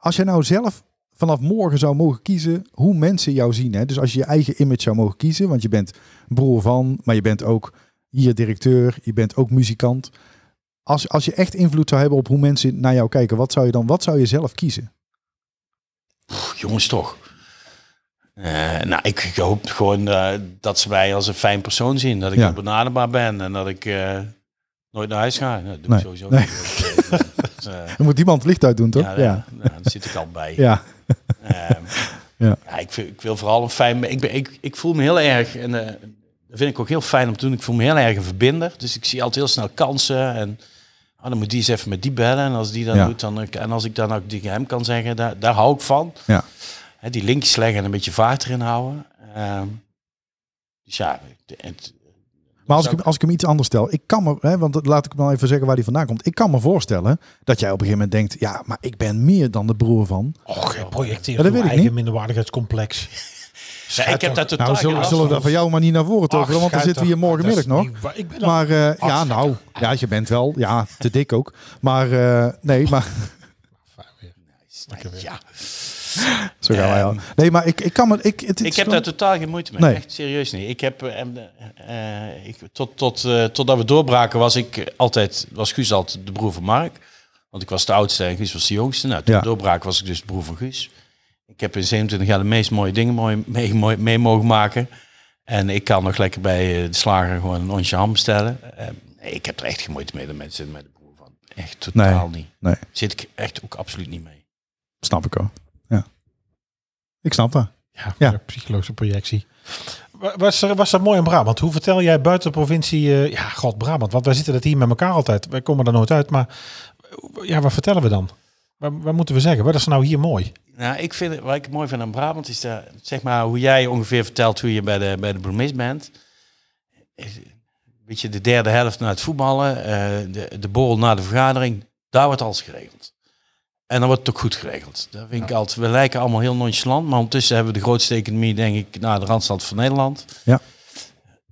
als jij nou zelf vanaf morgen zou mogen kiezen hoe mensen jou zien. Hè? Dus als je je eigen image zou mogen kiezen, want je bent broer van, maar je bent ook hier directeur, je bent ook muzikant. Als, als je echt invloed zou hebben op hoe mensen naar jou kijken, wat zou je dan, wat zou je zelf kiezen?
jongens toch. Eh, nou, ik, ik hoop gewoon eh, dat ze mij als een fijn persoon zien. Dat ik
Ja.
ook benaderbaar ben en dat ik eh, nooit naar huis ga. Nou, dat doe
Nee.
ik sowieso
Nee.
niet.
(laughs)
Eh, dus, eh,
Dan moet iemand het licht uit doen, toch?
ja,
ja.
nou, daar zit ik al bij.
ja.
Ehm,
(laughs) Ja.
ja. ik, vind- ik wil vooral een fijn... Ik, ben, ik, ik voel me heel erg... En, eh, dat vind ik ook heel fijn om te doen. Ik voel me heel erg een verbinder. Dus ik zie altijd heel snel kansen. En ah, dan moet die eens even met die bellen. En als die dat
Ja.
doet, dan... eh, En als ik dan ook tegen hem kan zeggen, daar, daar hou ik van.
Ja.
Hè, die linkjes leggen en een beetje vaart erin houden. Ehm, dus ja... Het, het-
Maar als
zou
ik, als ik hem iets anders stel, ik kan me, hè, want dat- laat ik hem dan even zeggen waar hij vandaan komt. Ik kan me voorstellen dat jij op een gegeven moment denkt, ja, maar ik ben meer dan de broer van.
Och, je projecteert
Ja, dat
uw
weet ik
eigen
niet.
minderwaardigheidscomplex.
Nee, ik heb daar totaal
Nou,
geen
zullen,
last
zullen we
van.
dat van jou maar niet naar voren toveren, want dan
schijt
zitten we hier
toch.
morgenmiddag
Ah, Dat
nog.
is niet waar. Ik ben al-
Maar eh, ja,
schijt
nou, ja, je bent wel, ja, te dik ook. Maar eh, nee, maar (laughs)
Ja,
zo gaan wij
Ehm.
al. Nee, maar ik, ik kan me, ik, het,
ik heb daar
dat.
totaal geen moeite mee.
Nee.
Echt serieus niet. Ik heb, eh, eh, eh, ik, tot, tot, eh, totdat we doorbraken was ik altijd, was Guus altijd de broer van Mark. Want ik was de oudste en Guus was de jongste. Nou, toen
Ja.
we doorbraken was ik dus de broer van Guus. Ik heb in 27 jaar de meest mooie dingen mooi, mee, mooi- mee mogen maken. En ik kan nog lekker bij eh, de slager gewoon een onsje ham bestellen. Eh, nee, ik heb er echt geen moeite mee dat mensen met de broer van. Echt totaal niet.
Nee,
Zit ik echt ook absoluut niet mee.
snap ik al. Ja. Ik snap dat.
Ja,
Ja.
ja, psychologische projectie. Wa- Was, er, was dat mooi in Brabant? Hoe vertel jij buiten de provincie... eh, ja, god, Brabant. Want wij zitten dat hier met elkaar altijd. Wij komen er nooit uit. Maar eh, ja, wat vertellen we dan? Wat, wat moeten we zeggen? Wat is er nou hier mooi?
Nou, ik vind, het- wat ik mooi vind aan Brabant is dat, zeg maar, hoe jij ongeveer vertelt hoe je bij de, bij de bloemist bent. Is Een beetje de derde helft na het voetballen, eh, de, de borrel na de vergadering, daar wordt alles geregeld. En dan wordt het ook goed geregeld. Dat vind ik altijd, we lijken allemaal heel nonchalant, maar ondertussen hebben we de grootste economie, denk ik, na de randstad van Nederland.
Ja.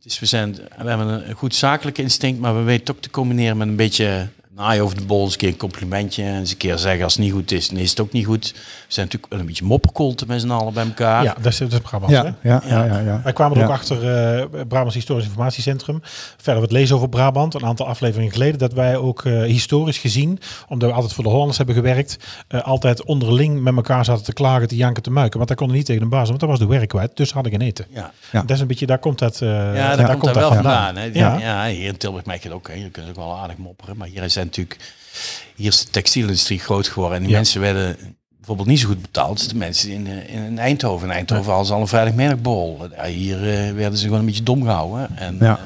Dus we, zijn, we hebben een goed zakelijk instinct, maar we weten het ook te combineren met een beetje naaien over de bol, eens een keer een complimentje. En eens een keer zeggen als het niet goed is, dan is het ook niet goed. We zijn natuurlijk wel een beetje mopperkolten met z'n allen bij elkaar.
Ja, daar zit het programma. hè?
Ah. Ja, ja, ja, ja, ja.
Wij kwamen er
Ja.
ook achter eh Brabants Historisch Informatiecentrum. Verder wat lezen over Brabant. Een aantal afleveringen geleden dat wij ook eh, historisch gezien, omdat we altijd voor de Hollanders hebben gewerkt, eh, altijd onderling met elkaar zaten te klagen, te janken, te muiken. Want daar konden niet tegen de baas, want daar was de werk kwijt. Dus hadden geen eten.
Ja.
Ja.
Dat is een beetje, daar komt dat. eh,
Ja, daar komt daar wel vandaan. hè.
Ja.
Ja. hier in Tilburg merk je dat ook. Hè. Je kunt ook wel aardig mopperen. Maar hier zijn natuurlijk... Hier is de textielindustrie groot geworden. En die
Ja. mensen
mensen werden bijvoorbeeld niet zo goed betaald als de mensen in, eh, in in Eindhoven. In Eindhoven hadden ze al een vrijdagmiddagborrel. Ja, hier eh, werden ze gewoon een beetje dom gehouden. En,
Ja.
eh,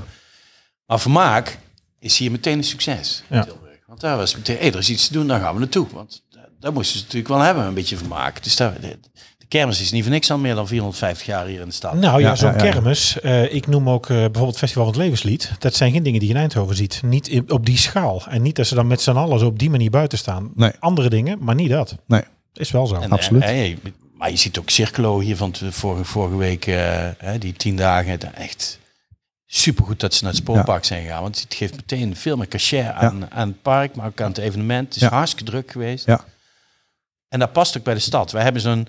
maar vermaak is hier meteen een succes in
Ja.
Tilburg. Want daar was meteen, hey, er is iets te doen, daar gaan we naartoe. Want daar, daar moesten ze natuurlijk wel hebben, een beetje vermaak. Dus daar, de, de kermis is niet voor niks al meer dan 450 jaar hier in de stad.
Nou ja,
Ja,
zo'n
ja, ja.
kermis. eh, ik noem ook eh, bijvoorbeeld Festival van het Levenslied. Dat zijn geen dingen die je in Eindhoven ziet. Niet in- op die schaal. En niet dat ze dan met z'n allen zo op die manier buiten staan.
Nee.
Andere dingen, maar niet dat.
Nee.
Is wel zo.
En,
Absoluut.
eh, eh, maar je ziet ook Circolo hier van t- vorige, vorige week, eh, hè, die tien dagen, da- echt supergoed dat ze naar het spoorpark zijn gegaan. Want het geeft meteen veel meer cachet aan, aan het park, maar ook aan het evenement. Het is
Ja.
hartstikke druk geweest.
Ja.
En dat past ook bij de stad. Wij hebben zo'n...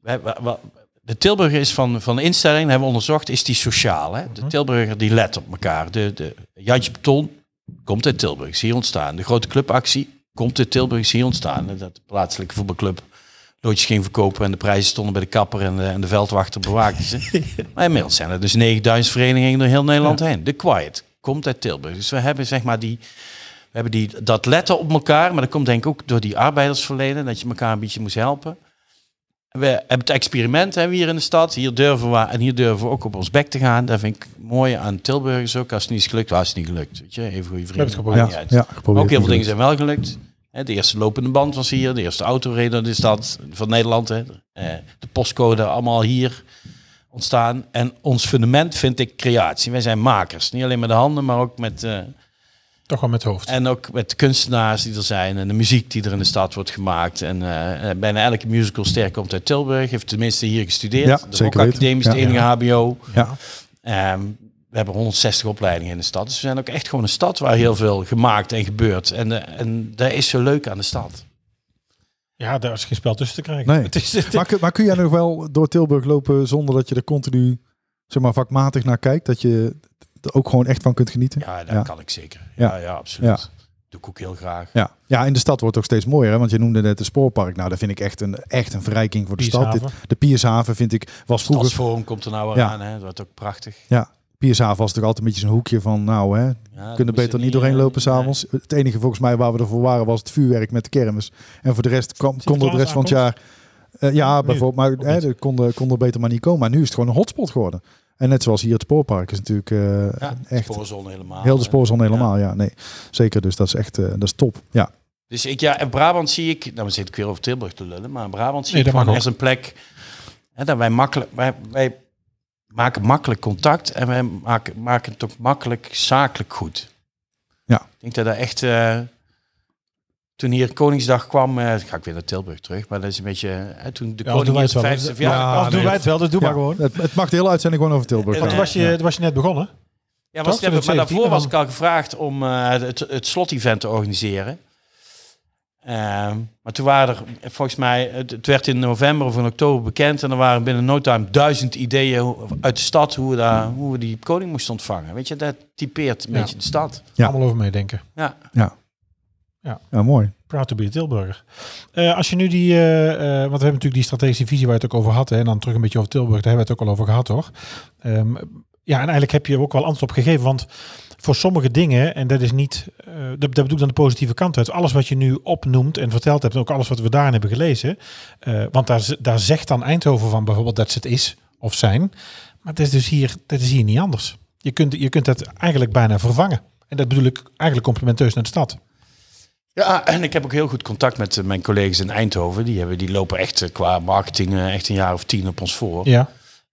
wij- wa- wa- de Tilburger is van, van de instelling, dat hebben we onderzocht, is die sociaal. Hè? De Tilburger die let op elkaar. De, de, Jantje Beton komt uit Tilburg, is hier ontstaan. De grote clubactie komt uit Tilburg, is hier ontstaan. Dat de plaatselijke voetbalclub loodjes ging verkopen en de prijzen stonden bij de kapper en de, en de veldwachter bewaakte ze. maar inmiddels zijn er dus 9000 verenigingen door heel Nederland heen. De Quiet komt uit Tilburg. Dus we hebben zeg maar die, we hebben die, dat letten op elkaar, maar dat komt denk ik ook door die arbeidersverleden, dat je elkaar een beetje moest helpen. We hebben het experiment hebben we hier in de stad. Hier durven we en hier durven we ook op ons bek te gaan. Dat vind ik mooi aan Tilburgers ook. Als het niet is gelukt, was het niet gelukt. Weet je, even goede vrienden.
het geprobeerd.
maakt niet
Ja,
uit.
ja, geprobeerd,
Maar ook heel veel
niet
dingen zijn wel gelukt. Hè, De eerste lopende band was hier. De eerste autoreden in de stad van Nederland. hè. Eh, De postcode allemaal hier ontstaan. En ons fundament vind ik creatie. Wij zijn makers. Niet alleen met de handen, maar ook met... eh,
Toch wel met het hoofd.
en ook met de kunstenaars die er zijn en de muziek die er in de stad wordt gemaakt. En eh, eh, bijna elke musicalster komt uit Tilburg, heeft tenminste hier gestudeerd.
Ja,
de
zeker
Rock Academie is
weten.
de
Ja.
enige HBO.
Ja.
Ehm, we hebben 160 opleidingen in de stad. Dus we zijn ook echt gewoon een stad waar heel veel gemaakt en gebeurt. En, eh, en dat is zo leuk aan de stad.
Ja, daar is geen spel tussen te krijgen.
Nee.
(laughs) Het is, het-
Maar, kun- maar kun jij nog wel door Tilburg lopen zonder dat je er continu zeg maar, vakmatig naar kijkt? Dat je er ook gewoon echt van kunt genieten?
Ja, dat
Ja.
kan ik zeker.
Ja.
Ja, ja, absoluut.
Ja.
Doe ik ook heel graag.
Ja. ja, en de stad wordt ook steeds mooier. Hè? Want je noemde net het spoorpark. Nou, dat vind ik echt een, echt een verrijking voor de stad.
Piershaven.
Dit- de Piershaven vind ik, was vroeger...
Stadsforum komt er nou weer
Ja.
aan. Hè. Dat wordt ook prachtig.
Ja, Piershaven was toch altijd een beetje zo'n hoekje van... Nou, hè,
Ja,
kunnen
dat
beter niet
moest er
doorheen
eh,
lopen
nee.
s'avonds. Het enige volgens mij waar we ervoor waren was het vuurwerk met de kermis. En voor de rest kwam, kon er de rest van het jaar... eh, ja,
Nu,
bijvoorbeeld, maar hè,
niet.
er kon, er- kon er beter maar niet komen. Maar nu is het gewoon een hotspot geworden. En net zoals hier het spoorpark is natuurlijk eh,
Ja,
echt...
spoorzone helemaal.
Heel de
hè.
spoorzone helemaal, ja. Nee, zeker. Dus dat is echt, eh, dat is top. Ja,
Dus ik, ja, in Brabant zie ik, nou we zitten weer over Tilburg te lullen, maar in Brabant zie
Nee,
ik
dat mag
gewoon echt
ook.
een plek hè, dat wij makkelijk, wij, wij maken makkelijk contact en wij maken, maken het ook makkelijk zakelijk goed.
Ja.
Ik denk dat dat echt, eh, toen hier Koningsdag kwam, eh, ga ik weer naar Tilburg terug, maar dat is een beetje, hè, toen de
Ja, als doen wij
koning hier
het
zijn
wel.
vijfde
Als-
verjaardag
als
had,
doen
eh,
wij het wel, dat doe
Ja,
maar gewoon.
Het, het mag de hele uitzending gewoon over Tilburg.
Eh,
gaan.
Want toen was je, toen was je net begonnen.
Ja,
Toch?
was het, maar
2017
daarvoor was
dan.
ik al gevraagd om eh, het, het slot-event te organiseren. Ehm, maar toen waren er, eh, volgens mij, het, het werd in november of in oktober bekend. En er waren binnen no time duizend ideeën hoe- uit de stad hoe we, daar, hoe we die koning moesten ontvangen. Weet je, dat typeert een
Ja.
beetje de stad.
Ja.
Allemaal over meedenken.
Ja.
Ja, mooi.
Proud to be a Tilburger. Eh, als je nu die, eh, eh, want we hebben natuurlijk die strategische visie waar je het ook over had, hè, en dan terug een beetje over Tilburg, daar hebben we het ook al over gehad hoor. Ehm, ja, en eigenlijk heb je er ook wel antwoord op gegeven, want voor sommige dingen, en dat is niet, eh dat, dat bedoel ik dan de positieve kant uit, alles wat je nu opnoemt en verteld hebt, en ook alles wat we daarin hebben gelezen, eh, want daar, z- daar zegt dan Eindhoven van bijvoorbeeld dat ze het is of zijn, maar dat is dus hier, dat is hier niet anders. Je kunt, je kunt dat eigenlijk bijna vervangen. En dat bedoel ik eigenlijk complimenteus naar de stad.
ja, en ik heb ook heel goed contact met eh, mijn collega's in Eindhoven. Die, hebben, die lopen echt eh, qua marketing eh, echt een jaar of tien op ons voor.
Ja.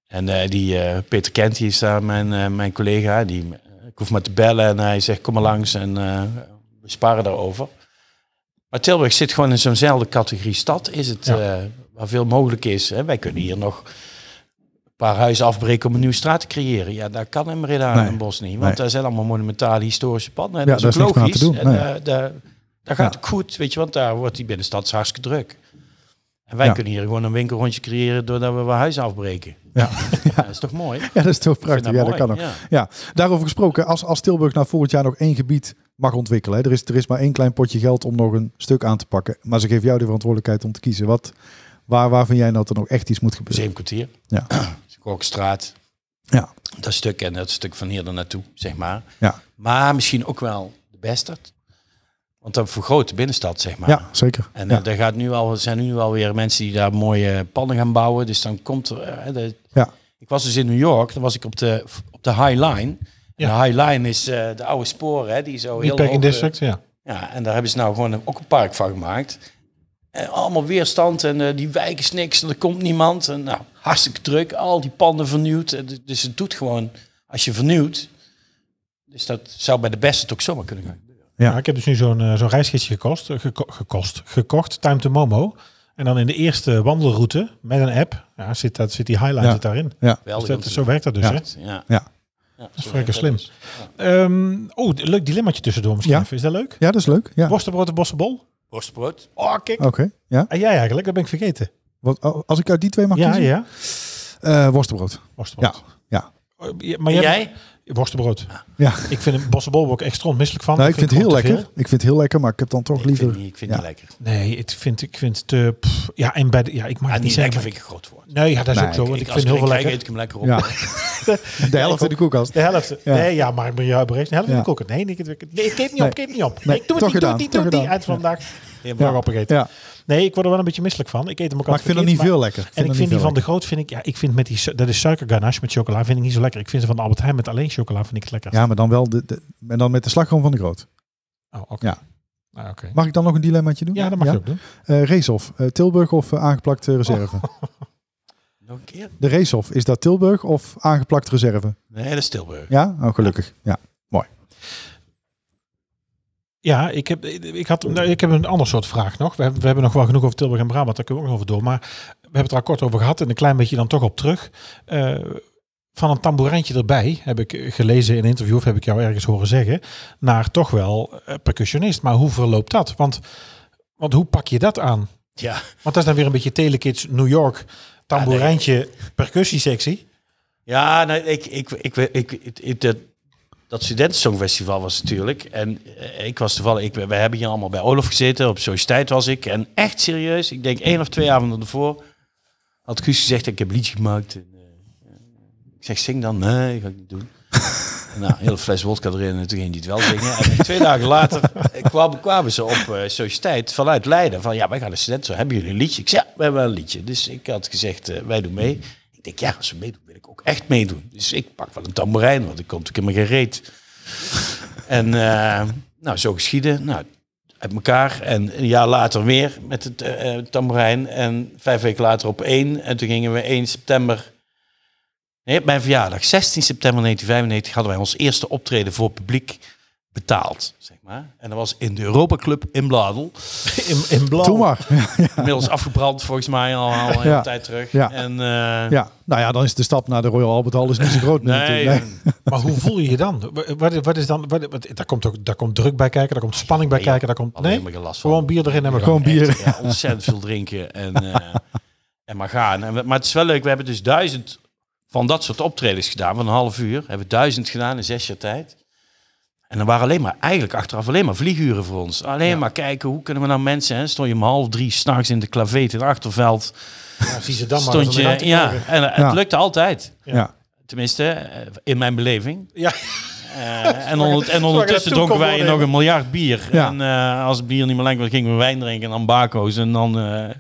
En eh, die eh, Peter Kent, die is daar mijn, eh, mijn collega. Die, eh, ik hoef maar te bellen en hij zegt kom maar langs en eh, we sparen daarover. Maar Tilburg zit gewoon in zo'nzelfde categorie stad. Is het
Ja.
eh, waar veel mogelijk is. Hè? Wij kunnen hier nog paar huizen afbreken om een nieuwe straat te creëren. Ja, daar kan in Breda
Nee.
en Den Bosch niet. Want
Nee.
daar zijn allemaal monumentale historische panden. En
Ja,
dat is ook
daar is niks meer aan
logisch.
te doen.
En,
Nee.
eh, daar, daar gaat het goed, weet je. Want daar wordt die binnenstad hartstikke druk. En wij
Ja.
kunnen hier gewoon een winkelrondje creëren doordat we wat huizen afbreken.
Ja.
Dat is toch mooi? Ik vind
Ja, dat is toch prachtig. Ja, dat
mooi,
kan ook.
ja.
Ja, daarover gesproken, als, als Tilburg nou volgend jaar nog één gebied mag ontwikkelen, hè, er, is, er is maar één klein potje geld om nog een stuk aan te pakken, maar ze geven jou de verantwoordelijkheid om te kiezen. Wat, waar, waar vind jij nou dat er nog echt iets moet gebeuren?
Zeemkwartier.
Ja.
Kokstraat.
Ja.
Dat stuk en dat stuk van hier er naartoe, zeg maar.
Ja.
Maar misschien ook wel de Bestert. Want dat vergroot de binnenstad, zeg maar.
Ja, zeker.
En
ja.
eh, daar gaat nu al, er zijn nu alweer mensen die daar mooie pannen gaan bouwen. Dus dan komt er... eh, de-
Ja.
Ik was dus in New York, dan was ik op de, op de High Line. En
Ja.
De High Line is eh, de oude sporen, hè, die zo
Die
heel
Packing
hoog, eh,
District, ja.
ja, en daar hebben ze nou gewoon een- ook een park van gemaakt. En allemaal weerstand en eh, die wijk is niks en er komt niemand. En nou, hartstikke druk, al die panden vernieuwd. En d- Dus het doet gewoon, als je vernieuwt, dus dat zou bij de beste toch zomaar kunnen gaan.
Ja.
Ja, ik heb dus nu zo'n eh, zo'n reisgidsje gekost, eh, geko- gekost, gekocht, Time to Momo. En dan in de eerste wandelroute met een app, ja, zit, dat, zit die highlight
Ja.
zit daarin.
Ja.
Wel,
Dus dat, zo werkt dat dus.
Ja.
Hè?
Ja.
Ja.
Ja,
is
zo
vrij
werkt
slim.
dus.
Ehm, oh, d- leuk dilemmaatje tussendoor misschien
Ja.
even. Is dat leuk?
ja, dat is leuk. Ja. Oké,
Worstenbrood en bossenbol?
Worstbrood.
Oh, kijk.
ja.
En jij eigenlijk, dat ben ik vergeten.
Wat, als ik uit die twee mag
ja,
kiezen?
ja.
Eh, worstenbrood.
Worstenbrood.
Ja.
Oh, ja, maar
En
jij?
jij?
Worstenbrood.
Ja.
Ik vind een bossenbol ook echt stront misselijk van.
Nou, ik vind het heel
gewoon te
lekker. Ik vind het heel lekker, maar ik heb dan toch
Ik vind
liever...
het niet, ik vind
Ja.
niet lekker.
veel. Nee, ik vind, ik vind het... eh, pff, ja, en bij de, ja, ik mag
Ah,
het niet
niet
zeggen. maar-
lekker vind ik een groot woord.
Nee, ja, dat is
Nee,
ook zo.
ik-
Want ik,
als
vind
er
heel veel
geen
lekker.
krijg, eet ik eh, hem lekker op. (laughs)
Ja. De helft in de koelkast.
De helft.
Ja.
Nee, ja, maar maar ja, berecht. De helft
Ja.
in de koelkast. Nee, nee, ik, ik, nee, ik eet niet
Nee.
op, ik eet niet op.
Nee,
ik doe
toch
het niet, doe
gedaan,
het niet,
toch
doe het niet.
gedaan.
Uit vandaag.
Helemaal
Ja. opgegeten.
Ja.
Nee, ik word er wel een beetje misselijk van. Ik eet hem ook
Maar ik vind
altijd
het niet
verkeerd,
veel lekker.
maar- En ik
het
vind die
niet
van de
veel
groot, vind ik, ja, ik vind met die, su- dat is suikerganache met chocola, vind ik niet zo lekker. Ik vind ze van de Albert Heijn met alleen chocola, vind ik het lekker.
lekker. Ja, maar dan wel de, de, en dan met de slagroom van de groot.
Oh, oké.
Ja.
Ah, oké.
Mag ik dan nog een dilemmaatje doen?
Ja, dat mag je ook Oh. doen.
Eh, Racehof, eh, Tilburg of eh, aangeplakt eh, reserve?
Nog een keer?
De Racehof, is dat Tilburg of aangeplakt reserve?
Nee, dat is Tilburg.
Ja? Oh, gelukkig. Ja.
Ja, ik heb, ik, had, nou, ik heb een ander soort vraag nog. We hebben, we hebben nog wel genoeg over Tilburg en Brabant, daar kunnen we ook nog over door. Maar we hebben het er al kort over gehad en een klein beetje dan toch op terug. Eh, van een tamboerijntje erbij, heb ik gelezen in een interview of heb ik jou ergens horen zeggen, naar toch wel eh, percussionist. Maar hoe verloopt dat? Want, want hoe pak je dat aan?
Ja.
Want dat is dan weer een beetje Telekids New York, tamboerijntje, percussiesectie.
Ja, nou, ik, ik, ik, ik, ik, ik- dat, dat Studentensongfestival was natuurlijk. En eh, ik was toevallig, ik, we hebben hier allemaal bij Olaf gezeten. Op Sociëteit was ik. En echt serieus, ik denk één of twee avonden ervoor had Guus gezegd, ik heb een liedje gemaakt. En, eh, ik zeg, zing dan. Nee, ga ik niet doen. En nou, een hele fles wodka erin en toen ging hij het wel zingen. En twee dagen later eh, kwamen, kwamen ze op eh Sociëteit vanuit Leiden. Van ja, wij gaan de studenten, hebben jullie een liedje? Ik zei, ja, we hebben wel een liedje. Dus ik had gezegd, eh, wij doen mee. Ik denk, ja, als we meedoen, wil ik ook echt meedoen. Dus ik pak wel een tamboerijn, want ik kom natuurlijk helemaal geen reet. En eh, nou, zo geschieden. Nou, uit elkaar. En een jaar later weer met het eh eh, tamboerijn. En vijf weken later op één. En toen gingen we 1 september... Nee, op mijn verjaardag, 16 september 1995, hadden wij ons eerste optreden voor publiek betaald. Zeg maar. En dat was in de Europa Club in Bladel.
In, in blauw.
Doe maar.
Inmiddels afgebrand, volgens mij, al, al een
Ja.
tijd terug.
Ja.
En, eh,
(laughs) Ja. Nou ja, dan is de stap naar de Royal Albert Hall is niet zo groot. meer
Nee,
natuurlijk.
Maar hoe voel je je dan? Wa- Wat, is- wat is dan? Wat, wat- daar, komt toch, daar komt druk bij kijken, daar komt spanning bij
Nee,
kijken, daar komt.
alleen
Nee,
maar geen last van.
gewoon bier erin hebben.
Gewoon bier.
Echt, ja, ontzettend veel drinken en,
(laughs)
eh, en maar gaan. En, we- maar het is wel leuk, we hebben dus duizend van dat soort optredens gedaan, van een half uur. Hebben we duizend gedaan in zes jaar tijd. En dan waren alleen maar, eigenlijk achteraf alleen maar vlieguren voor ons. Alleen maar kijken, hoe kunnen we nou mensen... Hè? Stond je om half drie s'nachts in de klaveet in het achterveld.
Ja, zie ze dan maar.
Stond
om
je,
eruit te
ja,
krijgen.
en eh,
Ja.
het lukte altijd.
Ja.
Tenminste, eh, in mijn beleving.
Ja.
Eh, en, onder, en
naartoe
ondertussen
kon
dronken wij
doornemen.
nog een miljard bier.
Ja.
En eh, als het bier niet meer lekker was, gingen we wijn drinken. En dan baco's en dan eh,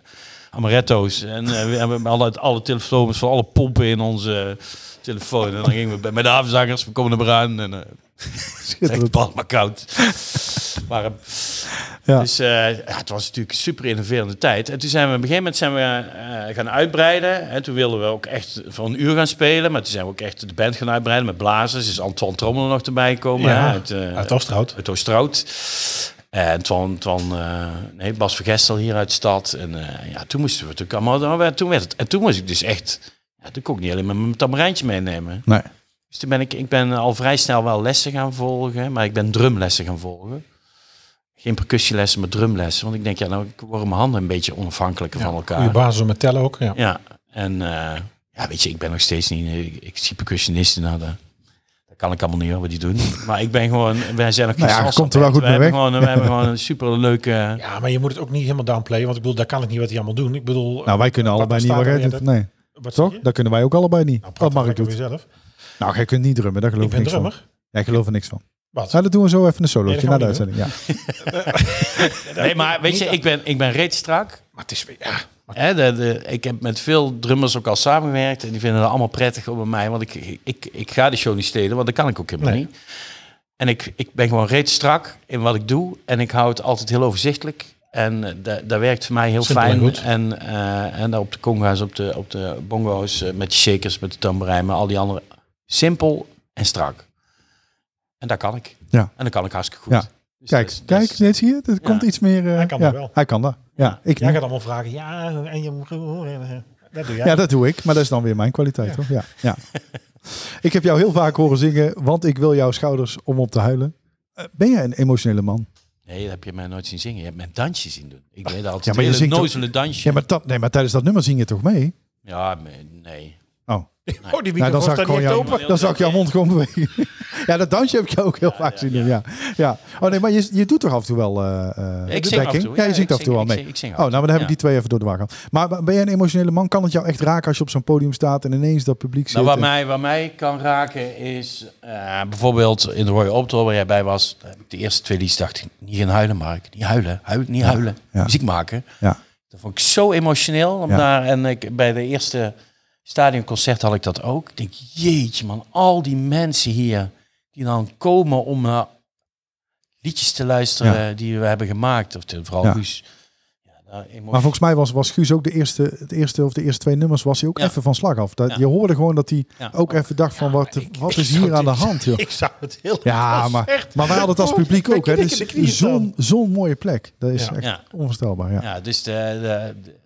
amaretto's. En eh, we hebben alle, alle telefoons van alle pompen in onze telefoon. En dan gingen we bij, met de havenzakkers, we komen er maar aan. En eh, het is echt
Schitterend.
bal maar
(laughs)
koud. maar, eh,
Ja.
Dus eh, ja, het was natuurlijk een super innoverende tijd. En toen zijn we op een gegeven moment zijn we, eh, gaan uitbreiden. En toen wilden we ook echt voor een uur gaan spelen. Maar toen zijn we ook echt de band gaan uitbreiden met blazers. Is Anton Trommel er nog erbij gekomen.
Ja,
hè, uit, eh,
Uit Oosterhout.
uit Oosterhout. En Twan, Twan eh, nee, nou, Bas van Gestel hier uit de stad. En eh, ja, toen moesten we natuurlijk allemaal... dan werd- Toen werd het, en toen was ik dus echt... Ja, toen kon ik niet alleen maar mijn tamarijntje meenemen.
Nee.
Dus toen ben ik, ik ben al vrij snel wel lessen gaan volgen, maar ik ben drumlessen gaan volgen. Geen percussielessen, maar drumlessen. Want ik denk, ja, nou ik word mijn handen een beetje onafhankelijker van
Goede
elkaar.
basis om met tellen ook. Ja.
Ja, en eh, ja, weet je, ik ben nog steeds niet. Ik, ik zie percussionisten, nou, dat, dat kan ik allemaal niet hoor, wat die doen. (laughs) Maar ik ben gewoon, wij zijn nog geen
Nou ja, je
salsa
komt er wel
band.
goed
we
mee
hebben Gewoon, we hebben gewoon een super leuke.
ja, maar je moet het ook niet helemaal downplayen. Want ik bedoel, daar kan ik niet wat die allemaal doen. Ik bedoel,
Nou, wij kunnen
Wat
allebei niet.
bestaat er
hoor, Ed.
niet uit?
Nee,
wat
toch?
zeg je?
Dat kunnen wij ook allebei niet.
Nou,
dat
praat
mag ik
lekker
doen.
weer zelf.
Nou, jij kunt niet drummen, daar geloof
Ik
ik, niks
ben
van.
drummer.
Ja, ik geloof er niks van.
Wat?
Nou, dat doen we zo even een solootje
Nee, dat
na
gaan
de
we
uitzending. Ja.
Nee, maar weet je, ik ben, ik ben reeds strak.
Maar het is weer- ja.
Hè, de, de, ik heb met veel drummers ook al samengewerkt en die vinden het allemaal prettig om bij mij, want ik, ik, ik ga de show niet stelen, want dat kan ik ook helemaal
Nee.
niet. En ik, ik ben gewoon reeds strak in wat ik doe en ik hou het altijd heel overzichtelijk. En eh, da- dat werkt voor mij heel
Simpel en
fijn.
goed.
En, eh, en daar op de conga's, op de, op de bongo's, eh, met de shakers, met de tamboerijn, maar al die andere. Simpel en strak. En dat kan ik.
Ja.
En dat kan ik hartstikke goed.
Ja.
Dus
Kijk,
dat is- dat is-
kijk, net zie je, er komt iets meer... eh,
Hij kan
ja,
dat wel.
Hij kan dat, ja. Ik
Jij
niet.
gaat allemaal vragen. Ja, en je moet... Dat doe jij.
Ja, dat doe ik, maar dat is dan weer mijn kwaliteit, toch? Ja, ja. (laughs) ik heb jou heel vaak horen zingen, want ik wil jouw schouders om op te huilen. Eh, ben jij een emotionele man?
Nee, dat heb je mij nooit zien zingen. Je hebt mijn dansje zien doen. Ik deed
maar
altijd ja,
je
hele
zingt ook-
nozele dansje.
Ja, maar, dat, nee, maar tijdens dat nummer zing je toch mee?
Ja, me- nee.
Oh,
Oh, die
nou, dan
microfoon
zag ik
staat niet
gewoon
echt
jou,
open.
dan zag ik jouw mond gewoon bewegen. (laughs) ja, dat dansje heb ik jou ook heel vaak zien doen, ja. ja. Oh nee, maar je, je doet toch af en toe wel eh, eh,
Ik
de
zing af en
backing?
toe.
Ja, je
Ja,
zingt
ik
af en toe wel
zing- ik
mee.
zing- ik zing af
oh, nou, maar
en
dan
toe,
heb ik die twee even door de war gehad. Maar ben jij een emotionele man? Kan het jou echt raken als je op zo'n podium staat en ineens dat publiek zit?
Nou, wat
en-
mij, wat mij kan raken is eh, bijvoorbeeld in de Royal Optober waar jij bij was. eh, De eerste twee liedjes dacht ik, niet gaan huilen Mark. Niet huilen, huil, niet huilen.
ja.
Muziek maken.
Ja.
Dat vond ik zo emotioneel. Om
Ja.
daar, en ik, bij de eerste stadionconcert had ik dat ook. Ik denk, jeetje man, al die mensen hier die dan komen om naar liedjes te luisteren die we hebben gemaakt. Of te, vooral
Ja.
Guus. Ja, nou, daar emotie-
Maar volgens mij was, was Guus ook de eerste, het eerste of de eerste twee nummers was hij ook
Ja.
even van slag af. Dat,
Ja.
Je hoorde gewoon dat hij
Ja.
ook even dacht van wat, wat is hier aan de hand
(laughs)
joh.
Ik zou het heel...
Ja, maar, maar wij hadden het als
Oh,
publiek
ik
ook. Hè.
denk in
Dus
de knieën
zo'n zo'n mooie plek. Dat is
Ja.
echt
Ja.
onvoorstelbaar. Ja.
Ja, dus de, de- de-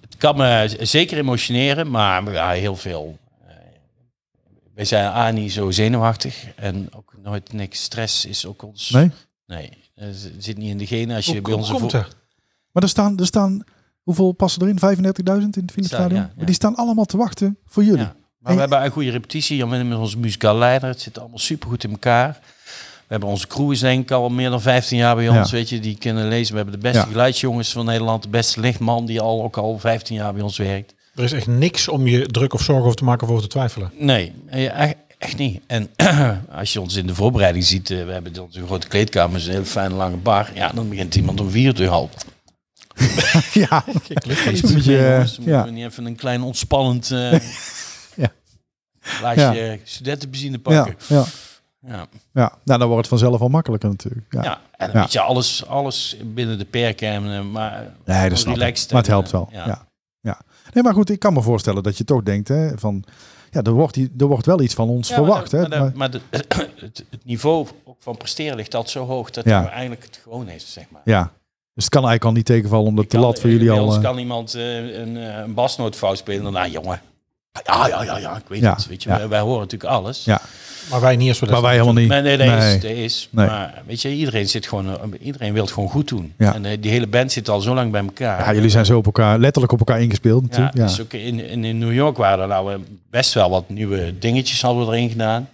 het kan me z- zeker emotioneren, maar ja, heel veel. eh, Wij zijn A, niet zo zenuwachtig en ook nooit niks. Stress is ook ons...
Nee?
Nee, eh, z- zit niet in de genen. Als je
Hoe,
bij
hoe
ons
komt dat?
Maar er staan, er staan, hoeveel passen erin? 35.000 in het
Staan,
finale
ja, ja.
Maar Die staan allemaal te wachten voor jullie.
Ja. Maar we hebben een goede repetitie. Jan Willem is onze muzikaal leider. Het zit allemaal supergoed in elkaar. We hebben onze crew is denk ik al meer dan 15 jaar bij ons.
Ja.
Weet je, die kunnen lezen. We hebben de beste
Ja.
geluidsjongens van Nederland. De beste lichtman die al, ook al 15 jaar bij ons werkt.
Er is echt niks om je druk of zorgen over te maken of over te twijfelen.
Nee, eh, echt, echt niet. En (clears throat) als je ons in de voorbereiding ziet, eh, we hebben onze grote kleedkamer, is een heel fijne lange bar. Ja, dan begint iemand om vier uur half.
(laughs) Ja.
Is
een beetje, eh, ja.
moeten we niet even een klein ontspannend eh
(laughs) Ja.
laagje
Ja.
eh, studentenbenzine
Ja.
pakken.
Ja.
Ja. Ja.
ja. Nou, dan wordt het vanzelf al makkelijker natuurlijk. Ja.
En
Ja.
weet je, alles, alles binnen de perken, eh, maar
Nee, dat snap ik.
relaxed.
Maar het
en,
helpt
eh,
wel. Ja. Ja. Nee, maar goed, ik kan me voorstellen dat je toch denkt hè, van... Ja, er wordt, die- er wordt wel iets van ons
Ja, maar
verwacht.
dat-
hè?
Maar,
Maar-
dat- maar de- (clears throat) het, het niveau ook van presteren ligt altijd zo hoog dat
Ja.
het eigenlijk het gewoon is, zeg maar.
Ja. Dus het kan eigenlijk al niet tegenvallen omdat de lat voor jullie
bij ons
al... eh,
kan iemand eh, een, eh, een basnoot fout spelen. Nou, jongen. Ja, ja, ja, ja, ik weet
Ja,
het. Weet je,
ja.
wij, wij horen natuurlijk alles.
Ja,
Maar wij niet eens voor dat.
maar wij helemaal niet.
Maar nee, dat
Nee.
is. Dat is.
Nee.
Maar weet je, iedereen, zit gewoon, eh, iedereen wil het gewoon goed doen.
Ja.
En eh, die hele band zit al zo lang bij elkaar.
Ja, jullie zijn zo op elkaar, letterlijk op elkaar ingespeeld
Ja,
natuurlijk. Ja,
dus ook in, in, in New York waren er nou eh, best wel wat nieuwe dingetjes hadden we erin gedaan.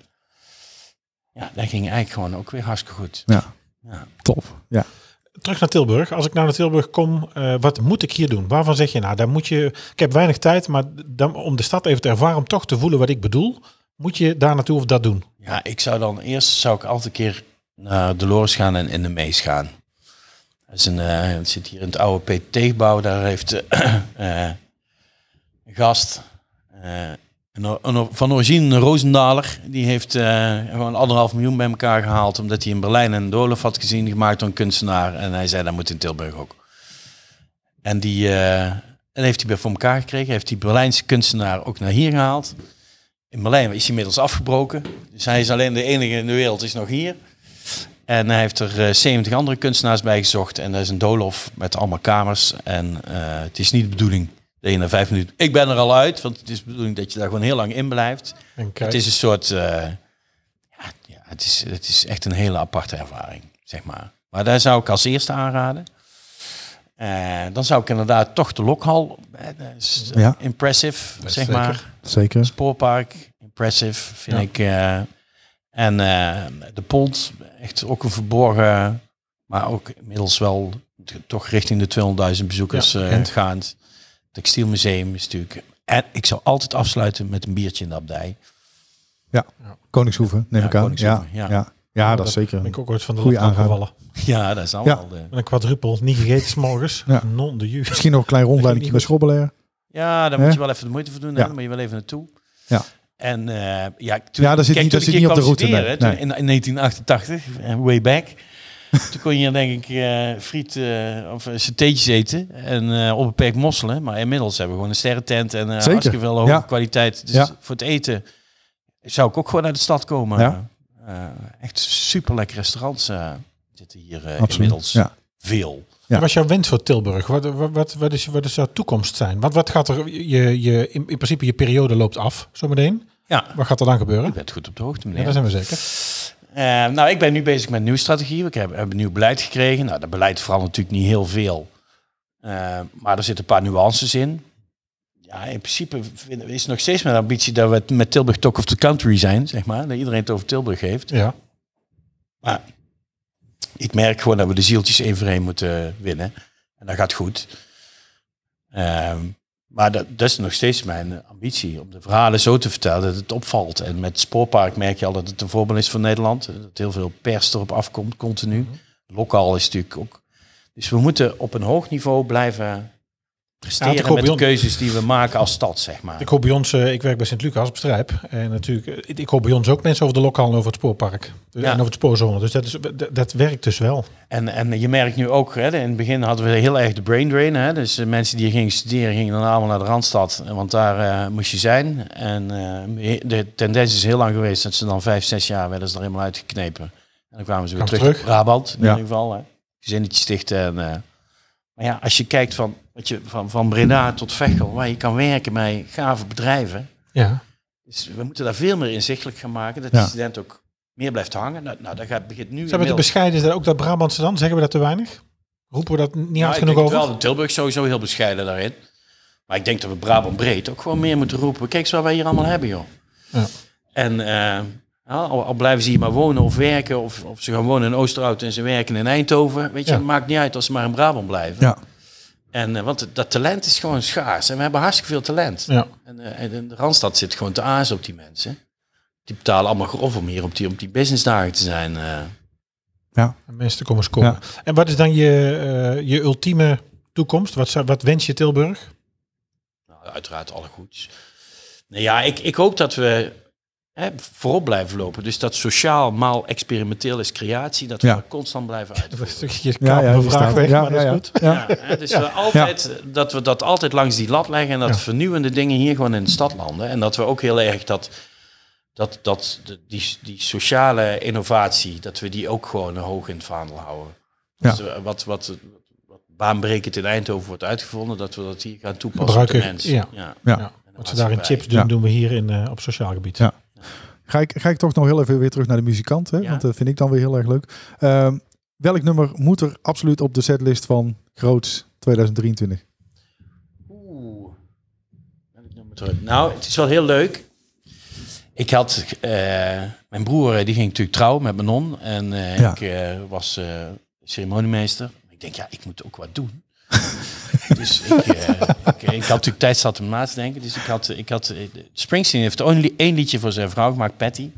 Ja, dat ging eigenlijk gewoon ook weer hartstikke goed.
ja.
Ja.
top. Ja.
Terug naar Tilburg. Als ik nou naar Tilburg kom, eh, wat moet ik hier doen? Waarvan zeg je nou, daar moet je... Ik heb weinig tijd, maar dan, om de stad even te ervaren, om toch te voelen wat ik bedoel, moet je daar naartoe of dat doen?
Ja, ik zou dan eerst zou ik altijd een keer naar Dolores gaan en in de Mees gaan. Dat is een, eh, het zit hier in het oude PT-gebouw. Daar heeft eh, (clears throat) eh, een gast, eh, een, o- een o- van origine een Roosendaler, die heeft eh, gewoon anderhalf miljoen bij elkaar gehaald. Omdat hij in Berlijn een doolhof had gezien, gemaakt door een kunstenaar. En hij zei, dat moet in Tilburg ook. En die eh, en heeft hij bij voor elkaar gekregen. Heeft die Berlijnse kunstenaar ook naar hier gehaald. In Berlijn is hij inmiddels afgebroken. Dus hij is alleen de enige in de wereld, is nog hier. En hij heeft er eh, 70 andere kunstenaars bij gezocht. En dat is een doolhof met allemaal kamers. En eh, het is niet de bedoeling deed je na vijf minuten. Ik ben er al uit, want het is de bedoeling dat je daar gewoon heel lang in blijft.
En kijk,
Het is een soort. eh, ja, ja, het, is, het is echt een hele aparte ervaring, zeg maar. Maar daar zou ik als eerste aanraden. Eh, dan zou ik inderdaad toch de Lokhal. eh, dat is, eh,
Ja.
Impressive,
Dat is
zeg
zeker.
maar.
Zeker.
Spoorpark, impressive, vind
Ja.
ik. eh. en eh, de pont, echt ook een verborgen, maar ook inmiddels wel t- toch richting de 200.000 bezoekers
Ja,
eh,
bekend.
gaand. Textielmuseum is natuurlijk... En ik zou altijd afsluiten met een biertje in de abdij.
Koningshoeven, neem
Ja,
ik aan. Ja,
Koningshoeven,
ja.
ja.
ja. dat is
ben
zeker.
ik ook ooit van de
Goeie
lat
aanrader.
afgevallen.
Ja, dat is allemaal eh, de...
Met een quadrupel, niet gegeten s'morgens.
Ja.
Non de jus.
Misschien nog een klein rondleidingje bij
Dat
Schrobbelair.
Ja, daar
Hè?
moet je wel even de moeite voor doen.
Ja.
Hè? Dan moet je wel even naartoe.
Ja.
En eh, ja, toen,
Ja, daar zit niet-
kijk, toen
dat
ik
zit
hier
niet op de
kwam
route,
studeren,
nee,
hè, toen
nee.
In, in 1988, eh, way
(laughs)
back. toen kon je denk ik eh, friet eh of satéetjes eten en eh, onbeperkt mosselen. Maar inmiddels hebben we gewoon een sterrentent en eh
Zeker.
hartstikke veel hoge
Ja.
kwaliteit. Dus
Ja.
voor het eten zou ik ook gewoon naar de stad komen.
Ja.
Eh, echt super lekker restaurants eh, zitten hier eh,
Absoluut.
inmiddels
Ja.
veel.
Ja.
Wat was jouw wens voor Tilburg? Wat, wat, wat, wat, is, wat is jouw toekomst zijn? Wat, wat gaat er, je, je, in, in principe je periode loopt af zometeen.
Ja,
Wat gaat er dan gebeuren?
je bent goed op de
Ja,
hoogte, meneer.
daar zijn we zeker.
Eh, nou, ik ben nu bezig met een nieuwe strategie. Ik heb, heb een nieuw beleid gekregen. Nou, dat beleid verandert natuurlijk niet heel veel. Eh, maar er zitten een paar nuances in. Ja, in principe vind- is het nog steeds mijn ambitie dat we het met Tilburg Talk of the Country zijn, zeg maar. Dat iedereen het over Tilburg heeft.
Ja.
Maar ik merk gewoon dat we de zieltjes één voor één moeten winnen. En dat gaat goed. Ehm, maar dat, dat is nog steeds mijn eh, ambitie. Om de verhalen zo te vertellen dat het opvalt. En met het spoorpark merk je al dat het een voorbeeld is voor Nederland. eh, Dat heel veel pers erop afkomt, continu. Lokaal is natuurlijk ook... Dus we moeten op een hoog niveau blijven presteren
ik hoop bij
met de
ons-
keuzes die we maken als stad, zeg maar.
Ik hoor bij ons, eh, ik werk bij Sint-Lucas op Strijp. En natuurlijk, eh, ik- ik hoor bij ons ook mensen over de lokaal en over het spoorpark. Dus-
Ja.
En over het spoorzone. Dus dat, is, dat, dat werkt dus wel.
En, en je merkt nu ook, hè, in het begin hadden we heel erg de brain drain. Hè, dus de mensen die gingen studeren gingen dan allemaal naar de Randstad, want daar eh, moest je zijn. En eh, de tendens is heel lang geweest dat ze dan vijf, zes jaar werden ze er helemaal uitgeknepen. En dan kwamen ze weer
Kwamen
terug,
terug.
naar Brabant in
Ja.
ieder geval. Hè. Gezinnetjes stichten. En, eh, maar ja, als je kijkt van, wat je, van, van Breda tot Vechel, waar je kan werken bij gave bedrijven.
Ja.
Dus we moeten daar veel meer inzichtelijk gaan maken, dat
Ja.
de student ook meer blijft hangen. Nou, nou dat gaat, begint nu
Zijn we te
inmiddels-
bescheiden? Is dat ook dat Brabantse dan? Zeggen we dat te weinig? Roepen we dat niet hard
Nou,
genoeg
ik denk
over?
het wel, Tilburg is sowieso heel bescheiden daarin. Maar ik denk dat we Brabant breed ook gewoon meer moeten roepen. Kijk eens wat wij hier allemaal hebben, joh.
Ja.
En eh, al, al blijven ze hier maar wonen of werken, of, of ze gaan wonen in Oosterhout en ze werken in Eindhoven. Weet je,
Ja.
het maakt niet uit als ze maar in Brabant blijven.
Ja.
En, eh, want dat talent is gewoon schaars. En we hebben hartstikke veel talent.
Ja.
En, eh, en de Randstad zit gewoon te aas op die mensen. Die betalen allemaal grof om hier op die, op die businessdagen te zijn. eh.
En mensen te komen scoren. En wat is dan je, eh, je ultieme toekomst? Wat, zou- wat wens je Tilburg? (laughs)
Nou, uiteraard alle goeds. Nou ja, ik, ik hoop dat we hè, voorop blijven lopen. Dus dat sociaal maal experimenteel is creatie, dat we
Ja.
daar constant blijven uit.
Dat is een stukje
Ja, ja, die
vraag
staat er.
weg,
Ja,
maar dat
ja,
is
ja.
goed.
Ja.
Ja, hè, dus we altijd, dat we dat altijd langs die lat leggen en dat
Ja.
vernieuwende dingen hier gewoon in de stad landen. En dat we ook heel erg dat, dat, dat de- die, die sociale innovatie, dat we die ook gewoon hoog in het vaandel houden.
Ja.
Dus eh, wat, wat, wat baanbrekend in Eindhoven wordt uitgevonden, dat we dat hier gaan toepassen op de
Gebruiken,
mensen.
ja.
Ja.
Ja. Wat ze daar in chips doen,
Ja.
doen we hier in, eh, op sociaal gebied.
Ja. Ga ik, ga ik toch nog heel even weer terug naar de muzikant, hè?
Ja.
want dat vind ik dan weer heel erg leuk. Ehm, welk nummer moet er absoluut op de setlist van Groots 2023?
Oeh. Welk nummer terug? Nou, het is wel heel leuk. Ik had, eh, mijn broer eh, die ging natuurlijk trouwen met mijn non. En eh,
Ja.
ik eh, was eh, ceremoniemeester. Ik denk, ja, ik moet ook
(laughs)
wat doen. dus ik, eh, ik, ik had natuurlijk tijd zat om na te denken. Dus ik had, ik had eh, Springsteen heeft only één liedje voor zijn vrouw gemaakt, Patty.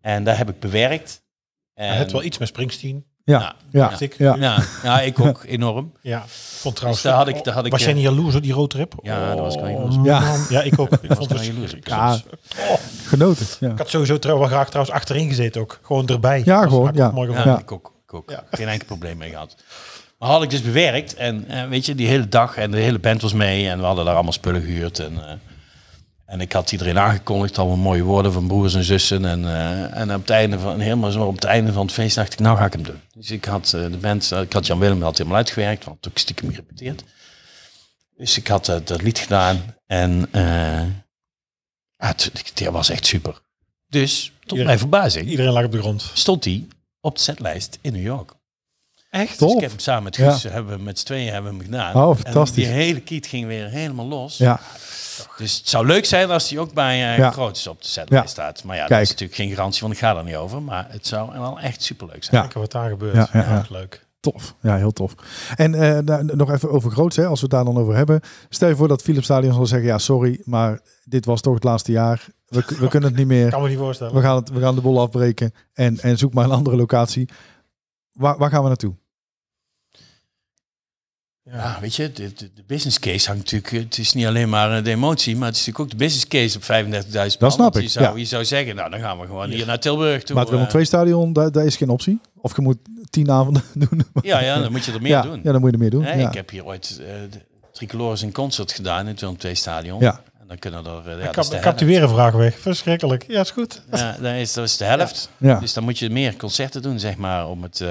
En daar heb ik bewerkt. En,
Maar Het wel iets met Springsteen.
Ja,
Nou,
ja,
dacht ik.
ja.
Nou, nou, ik ook enorm.
Ja, vond trouwens.
daar had ik- daar had ik,
was jij
eh,
niet jaloers op die roadtrip? Oh,
Ja, daar was ik wel jaloers
man.
op. Ja.
Ja.
(laughs)
ik ook. Ik vond
wel
het
jaloers op.
Ja.
genoten. Ja.
Ik had sowieso trouw, wel graag trouwens achterin gezeten ook. Gewoon erbij.
Ja,
Dat was
gewoon,
hartstikke
ja.
Mooi
Ja,
gevonden.
ik ook. Ik ook. Geen enkel probleem mee gehad. Maar had ik dus bewerkt. En eh, weet je, die hele dag en de hele band was mee. En we hadden daar allemaal spullen gehuurd. En, eh, en ik had iedereen aangekondigd. Allemaal mooie woorden van broers en zussen. En, eh, en op het einde van, helemaal zo op het einde van het feest dacht ik, nou ga ik hem doen. Dus ik had eh, de band, eh, ik had Jan Willem had helemaal uitgewerkt. Want ook stiekem gerepeteerd. Dus ik had eh, dat lied gedaan en eh, ah, het, het was echt super. Dus, tot
Ja.
mijn verbazing,
Iedereen lag op de grond.
stond hij op de setlijst in New York.
Echt?
Dus
Tof.
ik heb hem samen met Guus, hebben we met z'n tweeën hebben we hem gedaan.
Oh, fantastisch.
En die hele kiet ging weer helemaal los.
Ja,
Dus het zou leuk zijn als hij ook bij eh
Ja.
Groots op de setlijst
Ja.
staat. Maar ja, dat
Kijk.
is natuurlijk geen garantie, want ik ga er niet over. Maar het zou wel echt superleuk zijn.
Ja.
Kijken wat daar gebeurt.
Ja,
Ja,
ja, ja.
leuk.
tof. Ja, heel tof. En eh, nou, nog even over groots, hè, als we het daar dan over hebben. Stel je voor dat Philips Stadion zal zeggen, ja sorry, maar dit was toch het laatste jaar. We, we kunnen het niet meer.
Kan me niet voorstellen.
We gaan, het, we gaan de bol afbreken en, en zoek maar een andere locatie. Waar, waar gaan we naartoe?
Ja, weet je, de, de, de business case hangt natuurlijk... eh, Het is niet alleen maar eh, de emotie, maar het is natuurlijk ook de business case op 35.000 man.
snap
Want
ik,
Je zou,
ja.
je zou zeggen, nou dan gaan we gewoon hier naar Tilburg toe.
maar het Willem
eh.
II stadion, daar, daar is geen optie. Of je moet tien avonden (laughs) doen.
Ja, ja, dan moet je er meer
ja,
doen.
ja, dan moet je er meer doen.
Hè,
ja.
Ik heb hier ooit eh de Tricolores in concert gedaan in het Willem II Stadion.
Ja.
En dan kunnen er... eh, ja,
Ik
dat
kap,
is de
ik kap die
helft.
weer een vraag weg. Verschrikkelijk. Ja, is goed.
Ja, dat is, dat is de helft.
Ja.
Dus dan moet je meer concerten doen, zeg maar, om het... eh,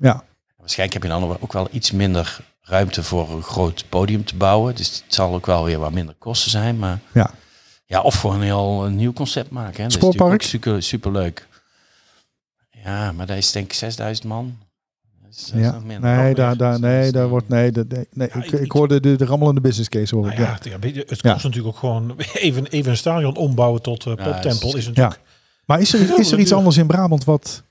Ja.
waarschijnlijk heb je dan ook wel iets minder ruimte voor een groot podium te bouwen. Dus het zal ook wel weer wat minder kosten zijn, maar...
Ja.
Ja, of gewoon een heel een nieuw concept maken. Hè.
Spoorpark?
Dat is natuurlijk ook super, leuk. Ja, maar dat is denk ik 6000 man. Dat is, dat is
Ja.
nog minder. Nog
Nee,
meer.
daar, daar,
Dus dat
nee,
is
daar
niet-
wordt... Nee, dat- nee, nee.
Ja,
ik,
ik-
ik hoorde de, de rammelende business case. Hoor ik.
Nou
Ja.
ja, ja, weet je, het kost
Ja.
natuurlijk ook gewoon (laughs) even, even een stadion ombouwen tot eh,
Ja,
poptempel
is-
is
Ja.
natuurlijk.
Maar
(laughs)
is er, is er iets anders in Brabant wat...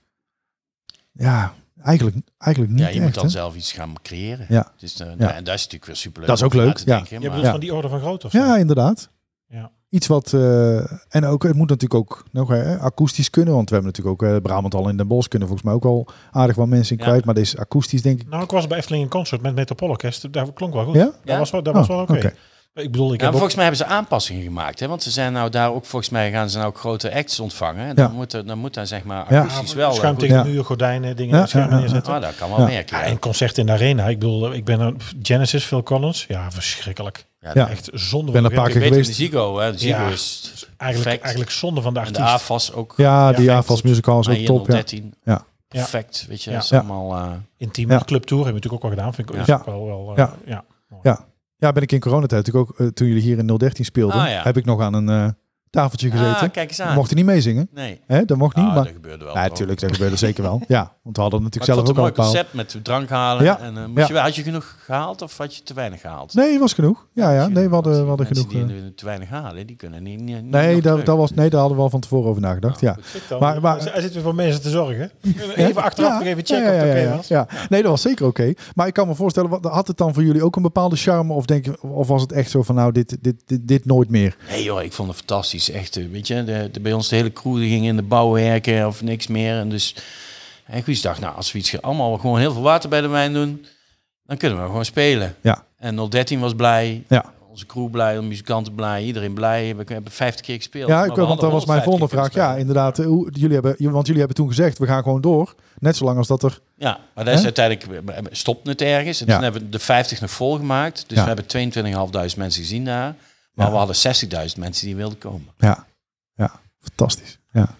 Ja, eigenlijk, eigenlijk niet
Ja, je moet
echt.
dan
hè?
zelf iets gaan creëren.
Ja.
Dus, eh,
Ja.
En dat is natuurlijk weer super leuk.
Dat is ook leuk, ja.
Je bedoelt
Ja.
van die orde van grootte of zo?
Ja, inderdaad.
Ja.
Iets wat... eh, en ook, het moet natuurlijk ook nog hè, akoestisch kunnen. Want we hebben natuurlijk ook eh, Brabant al in Den Bosch kunnen volgens mij ook al aardig wat mensen in
Ja.
kwijt. Maar deze akoestisch denk ik...
Nou, ik was bij Efteling in concert met Metropoolorkest. Daar klonk wel goed.
Ja?
Dat
Ja?
was wel, dat
Oh,
was wel oké.
oké.
Ik bedoel, ik
Ja,
heb ook...
volgens mij hebben ze aanpassingen gemaakt. Hè? Want ze zijn nou daar ook, volgens mij gaan ze nou ook grote acts ontvangen. En
Ja.
dan, moet er, dan moet daar zeg maar
Ja.
akoestisch wel... eh,
Schuim
goed-
tegen
Ja.
Ah, de muur, gordijnen, dingen,
Ja,
schermen
ja, ja, ja.
neerzetten.
Ah, dat kan wel merken.
Ja,
Ja.
en concert in de arena. Ik bedoel, ik ben een Genesis, Phil Collins. Ja, verschrikkelijk.
Ja,
Ja.
Echt zonde
ben
van
een
de
paar
Ik
werk.
keer
weet het,
geweest.
de Ziggo. Hè? De Ziggo
Ja.
is...
Eigenlijk,
perfect.
eigenlijk zonde van de
En de
artiest.
AFAS ook.
Ja, die
ja,
AFAS Musical is
Maar
ook
Ah, hier
top. Ja.
013.
Ja.
Perfect, weet je.
Ja.
dat is
Ja.
allemaal... eh,
Intiem
Ja.
clubtour hebben we natuurlijk ook wel gedaan. Vind ik
Ja.
ook wel... wel eh,
Ja.
ja.
ja, ben ik in coronatijd natuurlijk ook... eh, toen jullie hier in 013 speelden,
Ah, ja.
heb ik nog aan een eh, tafeltje gezeten.
Ah, kijk eens aan.
Mocht er niet meezingen.
Nee.
Hè? Dat mocht niet,
Ah,
maar...
dat gebeurde wel.
Ja,
toch?
natuurlijk, dat gebeurde zeker
(laughs)
wel. Ja, want we hadden
Maar
natuurlijk
ik
zelf
vond het
ook al
een mooi
een paar...
concept met drank halen.
Ja.
En, eh, moest
Ja.
je, wel- had je genoeg gehaald of had je te weinig gehaald?
Nee, was genoeg. Ja, ja. Nee, we hadden, we hadden
Mensen
genoeg... eh,
die nu te weinig halen, die kunnen niet. niet
Nee,
nog
daar,
terug.
daar was, nee, daar hadden we al van tevoren over nagedacht. Ja. Maar-
Maar,
maar-
Hij zit weer voor mensen te zorgen. Even achteraf nog even checken
ja,
of het
ja,
oké
ja, ja.
was.
Ja. Nee, dat was zeker oké. Maar ik kan me voorstellen, wat- had het dan voor jullie ook een bepaalde charme? Of, denk, je- of was het echt zo van, nou, dit, dit, dit, dit nooit meer?
Nee, joh, ik vond het fantastisch. Echt, eh, weet je, de, de- bij ons de hele crew die ging in de bouwwerken of niks meer. En dus, en Guus dacht, nou, als we iets ge- allemaal gewoon heel veel water bij de wijn doen, dan kunnen we gewoon spelen.
Ja.
En 013 was blij.
Ja.
Onze crew blij, de muzikanten blij, iedereen blij. We hebben 50 keer gespeeld.
Ja,
maar
ik,
we
want dat
hadden
was mijn
150
volgende
keer
vraag. Ja,
gespeeld.
inderdaad. eh, Hoe, jullie hebben, want jullie hebben toen gezegd, we gaan gewoon door. Net zolang als dat er...
Ja, maar dat is
Hè?
uiteindelijk eh, stopt het ergens. En
Ja.
toen hebben we de 50 nog volgemaakt. Dus
Ja.
we hebben 22.500 mensen gezien daar. Maar
Ja.
we hadden 60.000 mensen die wilden komen.
Ja, ja. fantastisch. Ja.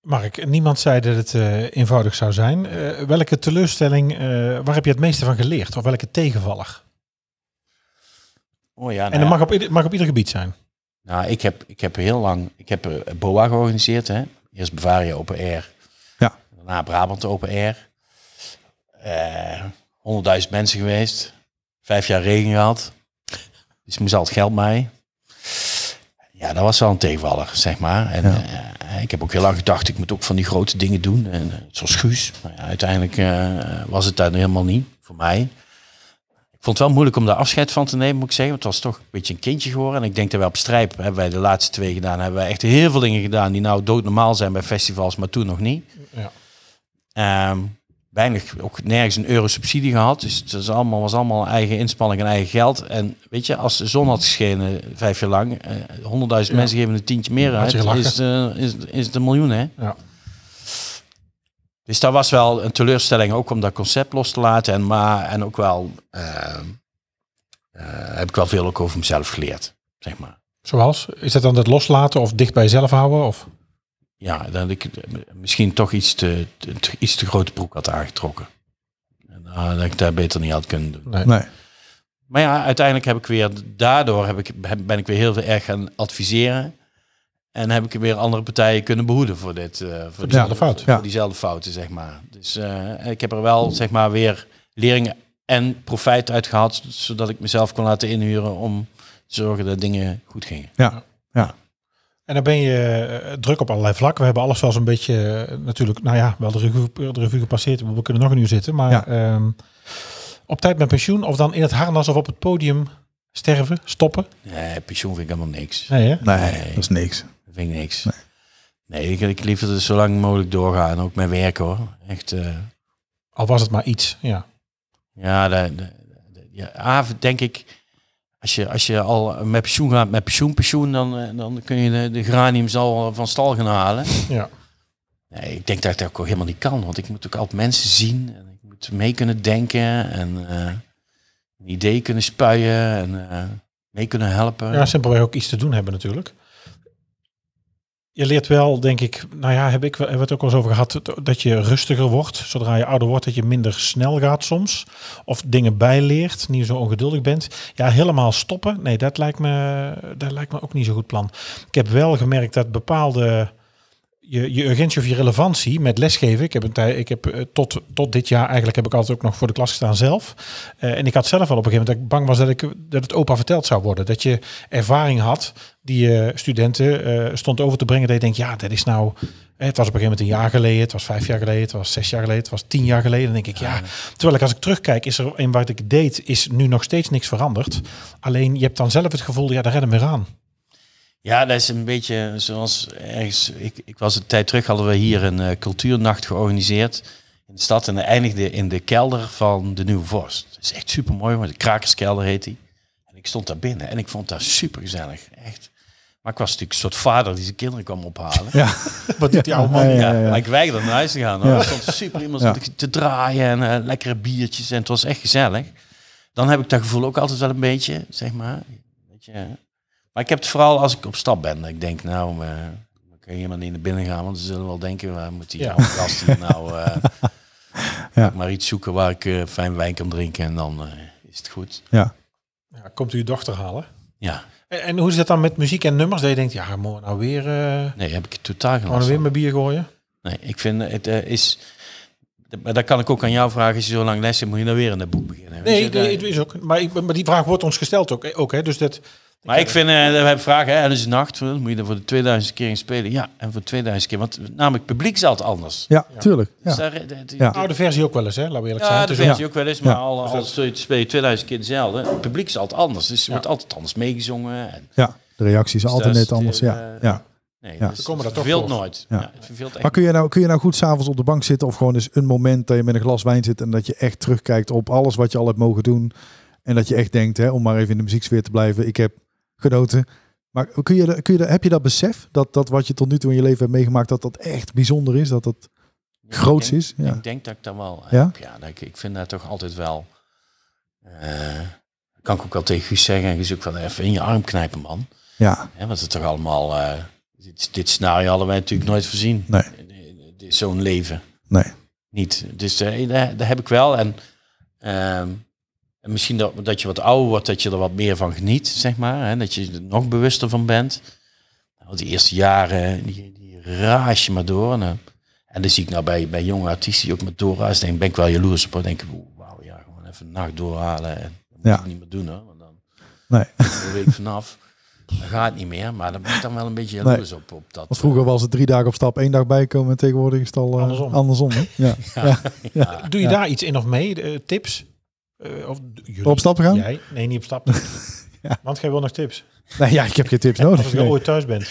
Mark, niemand zei dat het eh, eenvoudig zou zijn. Eh, welke teleurstelling, eh, waar heb je het meeste van geleerd? Of welke tegenvaller?
Oh ja, nou,
en dat
ja.
mag op, ieder, mag op ieder gebied zijn.
nou ik, heb, ik heb heel lang... Ik heb eh, BOA georganiseerd. Hè? Eerst Bavaria Open Air.
Ja.
Daarna Brabant Open Air. Eh 100.000 mensen geweest. Vijf jaar regen gehad. Dus moest al het geld mee. Ja, dat was wel een tegenvaller, zeg maar. En eh, ik heb ook heel lang gedacht, ik moet ook van die grote dingen doen. En, eh, zoals Guus. Nou ja, uiteindelijk eh, was het daar helemaal niet, voor mij. Ik vond het wel moeilijk om daar afscheid van te nemen, moet ik zeggen. Want het was toch een beetje een kindje geworden. En ik denk dat wij op strijp, hebben wij de laatste twee gedaan, hebben wij echt heel veel dingen gedaan die nou doodnormaal zijn bij festivals, maar toen nog niet.
Ja.
Ehm, weinig, ook nergens een euro subsidie gehad. Dus het was allemaal, was allemaal eigen inspanning en eigen geld. En weet je, als de zon had geschenen vijf jaar lang, eh, 100.000 mensen geven een tientje meer
Had
uit,
je
is het, eh, is, is het een miljoen, hè? Dus dat was wel een teleurstelling, ook om dat concept los te laten. En, maar, en ook wel, eh, eh, heb ik wel veel ook over mezelf geleerd, zeg maar.
Zoals? Is dat dan dat loslaten of dicht bij jezelf houden? Of?
ja, dat ik eh, misschien toch iets te, te- te- iets eh, te grote broek had aangetrokken. En, ah, dat ik daar beter niet had kunnen doen.
Nee.
Maar ja, uiteindelijk heb ik weer, daardoor heb ik, heb- ben ik weer heel veel erg gaan adviseren. En heb ik weer andere partijen kunnen behoeden voor dit. eh, voor,
diezelfde fout.
Voor
Ja.
diezelfde fouten, zeg maar. Dus eh, ik heb er wel, zeg maar, weer leringen en profijt uit gehad. Zodat ik mezelf kon laten inhuren om te zorgen dat dingen goed gingen.
Ja. Ja.
En dan ben je eh, druk op allerlei vlakken. We hebben alles wel zo'n beetje eh, natuurlijk, nou ja, wel de revue, de revue gepasseerd. We kunnen nog een uur zitten. Maar
Ja.
ehm, op tijd met pensioen of dan in het harnas of op het podium sterven, stoppen.
Nee, pensioen vind ik helemaal niks.
Nee, hè?
Nee,
Nee.
dat is niks.
Dat vind ik niks. Nee, ik, ik liever dat het zo lang mogelijk doorgaan. Ook mijn werk hoor. Echt. eh,
Al was het maar iets. Ja.
Ja, de, de- de- ja, A, denk ik, als je, als je al met pensioen gaat, met pensioen, pensioen, dan, eh, dan kun je de, de geraniums al van stal gaan halen.
ja.
Nee, ik denk dat ik dat ook helemaal niet kan, want ik moet ook altijd mensen zien en ik moet mee kunnen denken en eh, een idee kunnen spuien en eh, mee kunnen helpen.
ja, simpelweg ook iets te doen hebben natuurlijk. Je leert wel, denk ik, nou ja, heb ik, wel- hebben we het ook al eens over gehad, dat je rustiger wordt. Zodra je ouder wordt, dat je minder snel gaat soms. Of dingen bijleert, niet zo ongeduldig bent. Ja, helemaal stoppen, nee, dat lijkt me, dat lijkt me ook niet zo'n goed plan. Ik heb wel gemerkt dat bepaalde, je, je urgentie of je relevantie met lesgeven. Ik heb, een tij, ik heb eh, tot, tot dit jaar eigenlijk heb ik altijd ook nog voor de klas gestaan zelf. Eh, en ik had zelf al op een gegeven moment dat ik bang was dat, ik, dat het opa verteld zou worden. Dat je ervaring had die je studenten eh, stond over te brengen. Dat je denkt, ja, dat is nou... eh, Het was op een gegeven moment een jaar geleden, het was vijf jaar geleden, het was zes jaar geleden, het was tien jaar geleden. Dan denk ik, ja. Terwijl ik als ik terugkijk, is er in wat ik deed, is nu nog steeds niks veranderd. Alleen je hebt dan zelf het gevoel, ja, daar redden we weer aan.
Ja, dat is een beetje zoals ergens. Ik, ik was een tijd terug, hadden we hier een eh, cultuurnacht georganiseerd in de stad. En dat eindigde in de kelder van de Nieuwe Vorst. Dat is echt super mooi, want de Krakerskelder heet die. En ik stond daar binnen en ik vond dat super gezellig. Echt. Maar ik was natuurlijk een soort vader die zijn kinderen kwam ophalen.
Ja.
Wat doet die oude man?
Ja, ja,
Ja,
ja, ja.
Maar ik weigerde naar huis te gaan. hoor.
Ja.
Er stond super iemand
Ja.
te, te draaien en eh, lekkere biertjes. En het was echt gezellig. Dan heb ik dat gevoel ook altijd wel een beetje, zeg maar. Weet je. eh. Maar ik heb het vooral als ik op stap ben. Dat ik denk, nou, eh we kunnen helemaal niet naar binnen gaan. Want ze zullen wel denken, waar moet die
Ja.
oude gast hier nou...
(laughs)
eh,
Ja.
Maar iets zoeken waar ik eh, fijn wijn kan drinken. En dan eh, is het goed.
Ja.
Ja, komt u uw dochter halen?
Ja,
En, en hoe is dat dan met muziek en nummers? Dat je denkt, ja, mooi, nou weer, eh
nee, heb ik het totaal
Oh,
geen
nou
last
weer
van.
mijn bier gooien.
Nee, ik vind eh, het eh, is... Maar dat kan ik ook aan jou vragen. Als je zo lang les hebt, moet je dan weer in dat boek beginnen. Weet
Nee,
je,
nee,
daar-
het is ook. Maar, ik, maar die vraag wordt ons gesteld ook. eh, ook hè, dus dat,
Maar ik vind, eh, we hebben vragen, hè, en dus nacht, dan moet je er voor de 2000 keer in spelen. Ja, en voor de 2000 keer, want namelijk het publiek is altijd anders.
Ja, tuurlijk.
Dus
Ja.
daar, eh, dat-
Ja. dus
dat-
oude versie ook wel eens, hè, laten we eerlijk zijn. Dus
ja,
Het
dat
is
vind
ook-
je ook wel eens, maar
Ja.
al, al speel je- speel je 2000 keer dezelfde. Het publiek is altijd anders, dus er wordt altijd anders meegezongen. En,
ja. De reactie is altijd
Dus dat is
net anders.
de-
Ja. ja.
nee,
Ja.
dus
We komen
het
daar toch
verveelt
voor.
nooit.
Ja.
Ja. het verveelt echt
Maar kun je nou, kun je nou goed s'avonds op de bank zitten of gewoon eens een moment dat je met een glas wijn zit en dat je echt terugkijkt op alles wat je al hebt mogen doen en dat je echt denkt, hè, om maar even in de muzieksfeer te blijven, ik heb genoten. Maar kun je, kun je, heb je dat besef dat, dat wat je tot nu toe in je leven hebt meegemaakt, dat dat echt bijzonder is, dat dat
niet.
groots
Ik denk-
is? Ja.
Ik denk dat ik daar wel
Ja?
heb, ja. dat ik, ik vind dat toch altijd wel... eh, kan ik ook wel tegen Guus zeggen, en Guus ook van even in je arm knijpen, man.
ja,
Hè, want het toch allemaal. eh, dit, dit scenario hadden wij natuurlijk nooit voorzien.
Nee.
Eh, dit is Zo'n leven.
nee.
Niet. Dus eh, daar, daar heb ik wel. En, ehm, en misschien dat, dat je wat ouder wordt, dat je er wat meer van geniet, zeg maar. Hè, dat je er nog bewuster van bent. Want die eerste jaren, die, die raas je maar door. En, eh, en dat zie ik nou bij, bij jonge artiesten die ook met doorraas. Denk, ben ik wel jaloers op. hoor. denk ik, oeh, wauw, ja, gewoon even een nacht doorhalen. En dat moet
Ja.
ik niet meer doen, hoor. Want dan
nee.
de week vanaf. Dat gaat niet meer, maar daar ben ik dan wel een beetje jaloers op. op dat,
Want vroeger was het drie dagen op stap, één dag bijkomen en tegenwoordig is het al eh,
Andersom.
andersom hè? ja.
Doe je daar iets in of mee? eh, tips? Eh, of, d- jullie,
Op stap gaan?
Jij? Nee, niet op
(laughs)
stap. Want jij wil nog tips.
Nee, ja, ik heb geen tips
Als
nodig.
je
Nee.
ooit thuis bent.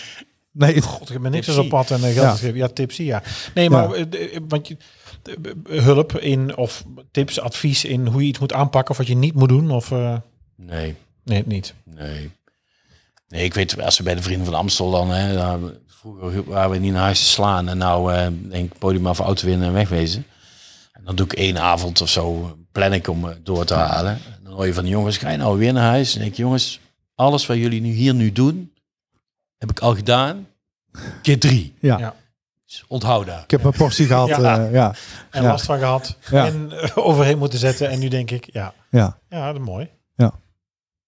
Nee,
God, ik ben niks
Tipsy.
als op pad en eh, geld
Ja.
geschreven. Ja, tipsy, ja. Nee, maar eh, eh, want je, eh, eh, hulp in of tips, advies in hoe je iets moet aanpakken of wat je niet moet doen of eh,
Nee,
nee, niet.
nee. Nee, ik weet, als we bij de Vrienden van Amstel dan, hè, daar- vroeger waren we niet naar huis te slaan. En nou, eh, denk ik, podium af, auto winnen en wegwezen. En dan doe ik één avond of zo, plan ik om eh, door te halen. En dan hoor je van de jongens, ga je nou weer naar huis? En denk ik, jongens, alles wat jullie nu hier nu doen, heb ik al gedaan. Keer drie.
ja.
Ja.
Dus onthoud daar.
Ik heb mijn portie gehad.
Ja.
ja. ja.
En
Ja.
last van gehad
Ja.
en eh, overheen moeten zetten en nu denk ik ja,
ja.
ja, dat is mooi.
Ja.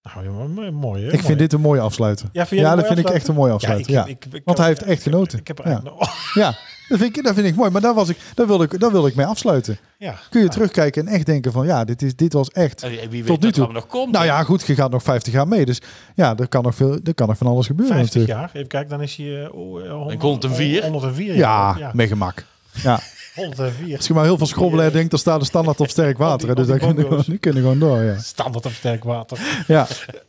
Nou, jongen, mooi, mooi hè?
Ik vind dit een mooie afsluiter.
Ja, vind jij
ja,
een
dat
mooie
vind ik echt een mooie afsluiter. Ja, Want hij heeft echt genoten.
Ik heb er
Ja.
eigenlijk nog- oh,
Ja, dat vind ik, dat vind ik mooi. Maar daar, was ik, daar, wilde ik, daar wilde ik mee afsluiten.
Ja.
Kun je terugkijken en echt denken van ja, dit, is, dit was echt.
En wie- wie
Tot
weet
nu
dat
toe.
er allemaal nog komt.
Nou ja, goed, je gaat nog 50 jaar mee. Dus ja, er kan nog, veel, er kan nog van alles gebeuren
50
natuurlijk.
jaar. Even kijken, dan is hij... eh, oh, eh, honderd-
Ik 104.
104.
Ja,
ja.
met gemak. Ja.
104.
Als je maar heel veel schrobbelen
Die, eh,
denkt, dan staat de standaard op sterk water. hè.
die-
Dus daar
die
kunnen we,
bongo's.
die (laughs) kunnen gewoon door. Ja.
Standaard op sterk water.
ja.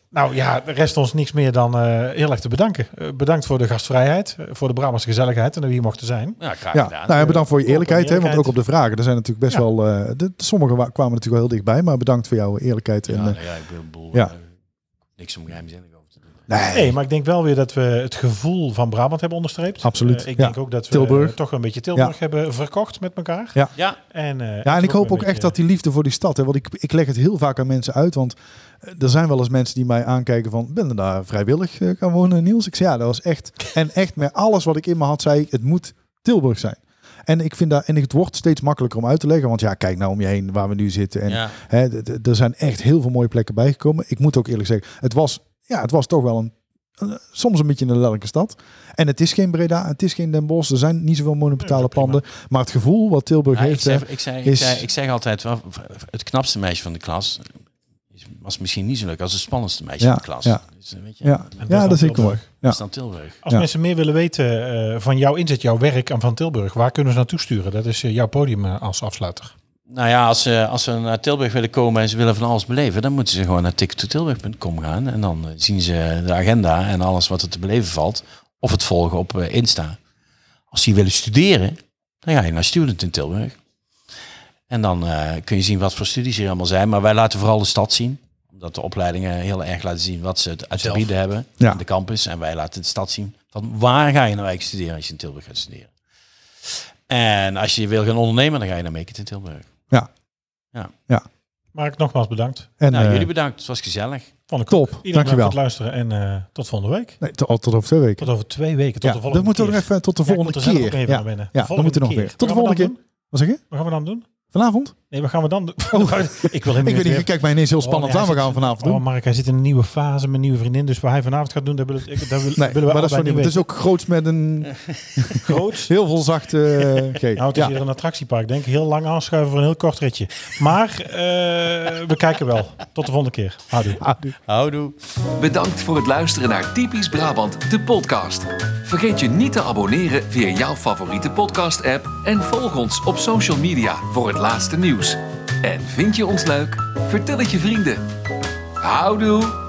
Nou ja, er rest ons niks meer dan eh, heel erg te bedanken. Eh, bedankt voor de gastvrijheid, eh, voor de Brabantse gezelligheid en dat we hier mochten zijn.
Ja, graag
Ja,
gedaan.
nou ja, bedankt voor je
Open
eerlijkheid, hè, want ook
eerlijkheid.
op de vragen. Er zijn natuurlijk best
Ja.
wel. eh de, sommige wa- kwamen natuurlijk wel heel dichtbij, maar bedankt voor jouw eerlijkheid. En,
ja,
eh,
nou ja, ik ben boel,
ja.
eh, niks om geheimzinnig over te doen.
nee,
Nee, maar ik denk wel weer dat we het gevoel van Brabant hebben onderstreept.
Absoluut,
Eh, ik
ja.
denk ook dat we
Tilburg.
eh, toch een beetje Tilburg hebben verkocht met elkaar.
Ja.
Ja,
En, eh,
Ja, en ik
toch
hoop
een
ook echt
beetje-
dat die liefde voor die stad. Hè, want ik, ik leg het heel vaak aan mensen uit. Want eh, er zijn wel eens mensen die mij aankijken van... ben je daar vrijwillig eh, gaan wonen, Niels? Ik zei ja, dat was echt... En echt met alles wat ik in me had, zei ik... het moet Tilburg zijn. En ik vind dat... en het wordt steeds makkelijker om uit te leggen. Want ja, kijk nou om je heen waar we nu zitten. En
ja.
hè, d- d- er zijn echt heel veel mooie plekken bijgekomen. Ik moet ook eerlijk zeggen, het was, ja, het was toch wel een... een- Soms een beetje een lelijke stad. En het is geen Breda, het is geen Den Bosch. Er zijn niet zoveel monumentale
Ja, prima.
panden. Maar het gevoel wat Tilburg
Ja, Nou, ik,
heeft... hè,
zeg, ik, zeg, ik,
is-
zeg, ik zeg altijd, wel, het knapste meisje van de klas is- was misschien niet zo leuk als het spannendste meisje
Ja,
van de klas.
ja.
Dus, eh, weet je,
Ja,
En dat
ja
is
dat
dan
vind ik mooi.
Tilburg.
Ja.
is dan Tilburg.
Als
Ja.
mensen meer willen weten eh, van jouw inzet, jouw werk en van Tilburg, waar kunnen ze naartoe sturen? Dat is eh, jouw podium eh, als afsluiter.
Nou ja, als ze, als ze naar Tilburg willen komen en ze willen van alles beleven, dan moeten ze gewoon naar tickettotilburg.com gaan. En dan eh, zien ze de agenda en alles wat er te beleven valt. Of het volgen op eh, Insta. Als ze willen studeren, dan ga je naar Student in Tilburg. En dan eh, kun je zien wat voor studies er allemaal zijn. Maar wij laten vooral de stad zien. Omdat de opleidingen heel erg laten zien wat ze uit te
Zelf.
bieden hebben.
Ja.
De campus. En wij laten de stad zien van waar ga je nou eigenlijk studeren als je in Tilburg gaat studeren. En als je wil gaan ondernemen, dan ga je naar Make It in Tilburg.
Mark, nogmaals bedankt.
En
Nou,
eh,
jullie bedankt. Het was gezellig.
Vond ik
Top,
ook. Iedereen bedankt
dankjewel.
voor het luisteren en eh, tot volgende week.
nee, tot, tot over twee weken.
Tot over twee weken, tot
ja,
de
dat
volgende
moeten we
keer.
nog even tot de
Ja, ik
volgende
moet er zelf
keer.
ook even
ja,
naar binnen.
ja
De
dan moeten we nog
keer.
weer. Tot de
Wat gaan we
volgende keer.
dan
Wat zeg je?
doen? Wat gaan we dan doen?
Vanavond?
Nee, wat gaan we dan doen? (laughs) ik wil hem
Ik weet niet, je kijkt mij ineens heel spannend aan. We gaan vanavond doen.
Oh, Mark, hij zit in een nieuwe fase met een nieuwe vriendin. Dus wat hij vanavond gaat doen, dat, wil, ik, dat wil,
Nee,
willen we
maar dat is,
allebei
wel niet,
niet
het is ook groots met
(laughs)
een
weten. groot.
(laughs) heel veel
(laughs)
zachte G.
Nou, het is
ja.
hier een attractiepark. Denk ik, heel lang aanschuiven voor een heel kort ritje. Maar eh, we kijken wel. Tot de volgende keer. Houdoe.
Ah,
Houdoe.
Bedankt voor het luisteren naar Typisch Brabant, de podcast. Vergeet je niet te abonneren via jouw favoriete podcast-app en volg ons op social media voor het laatste nieuws. En vind je ons leuk? Vertel het je vrienden. Houdoe!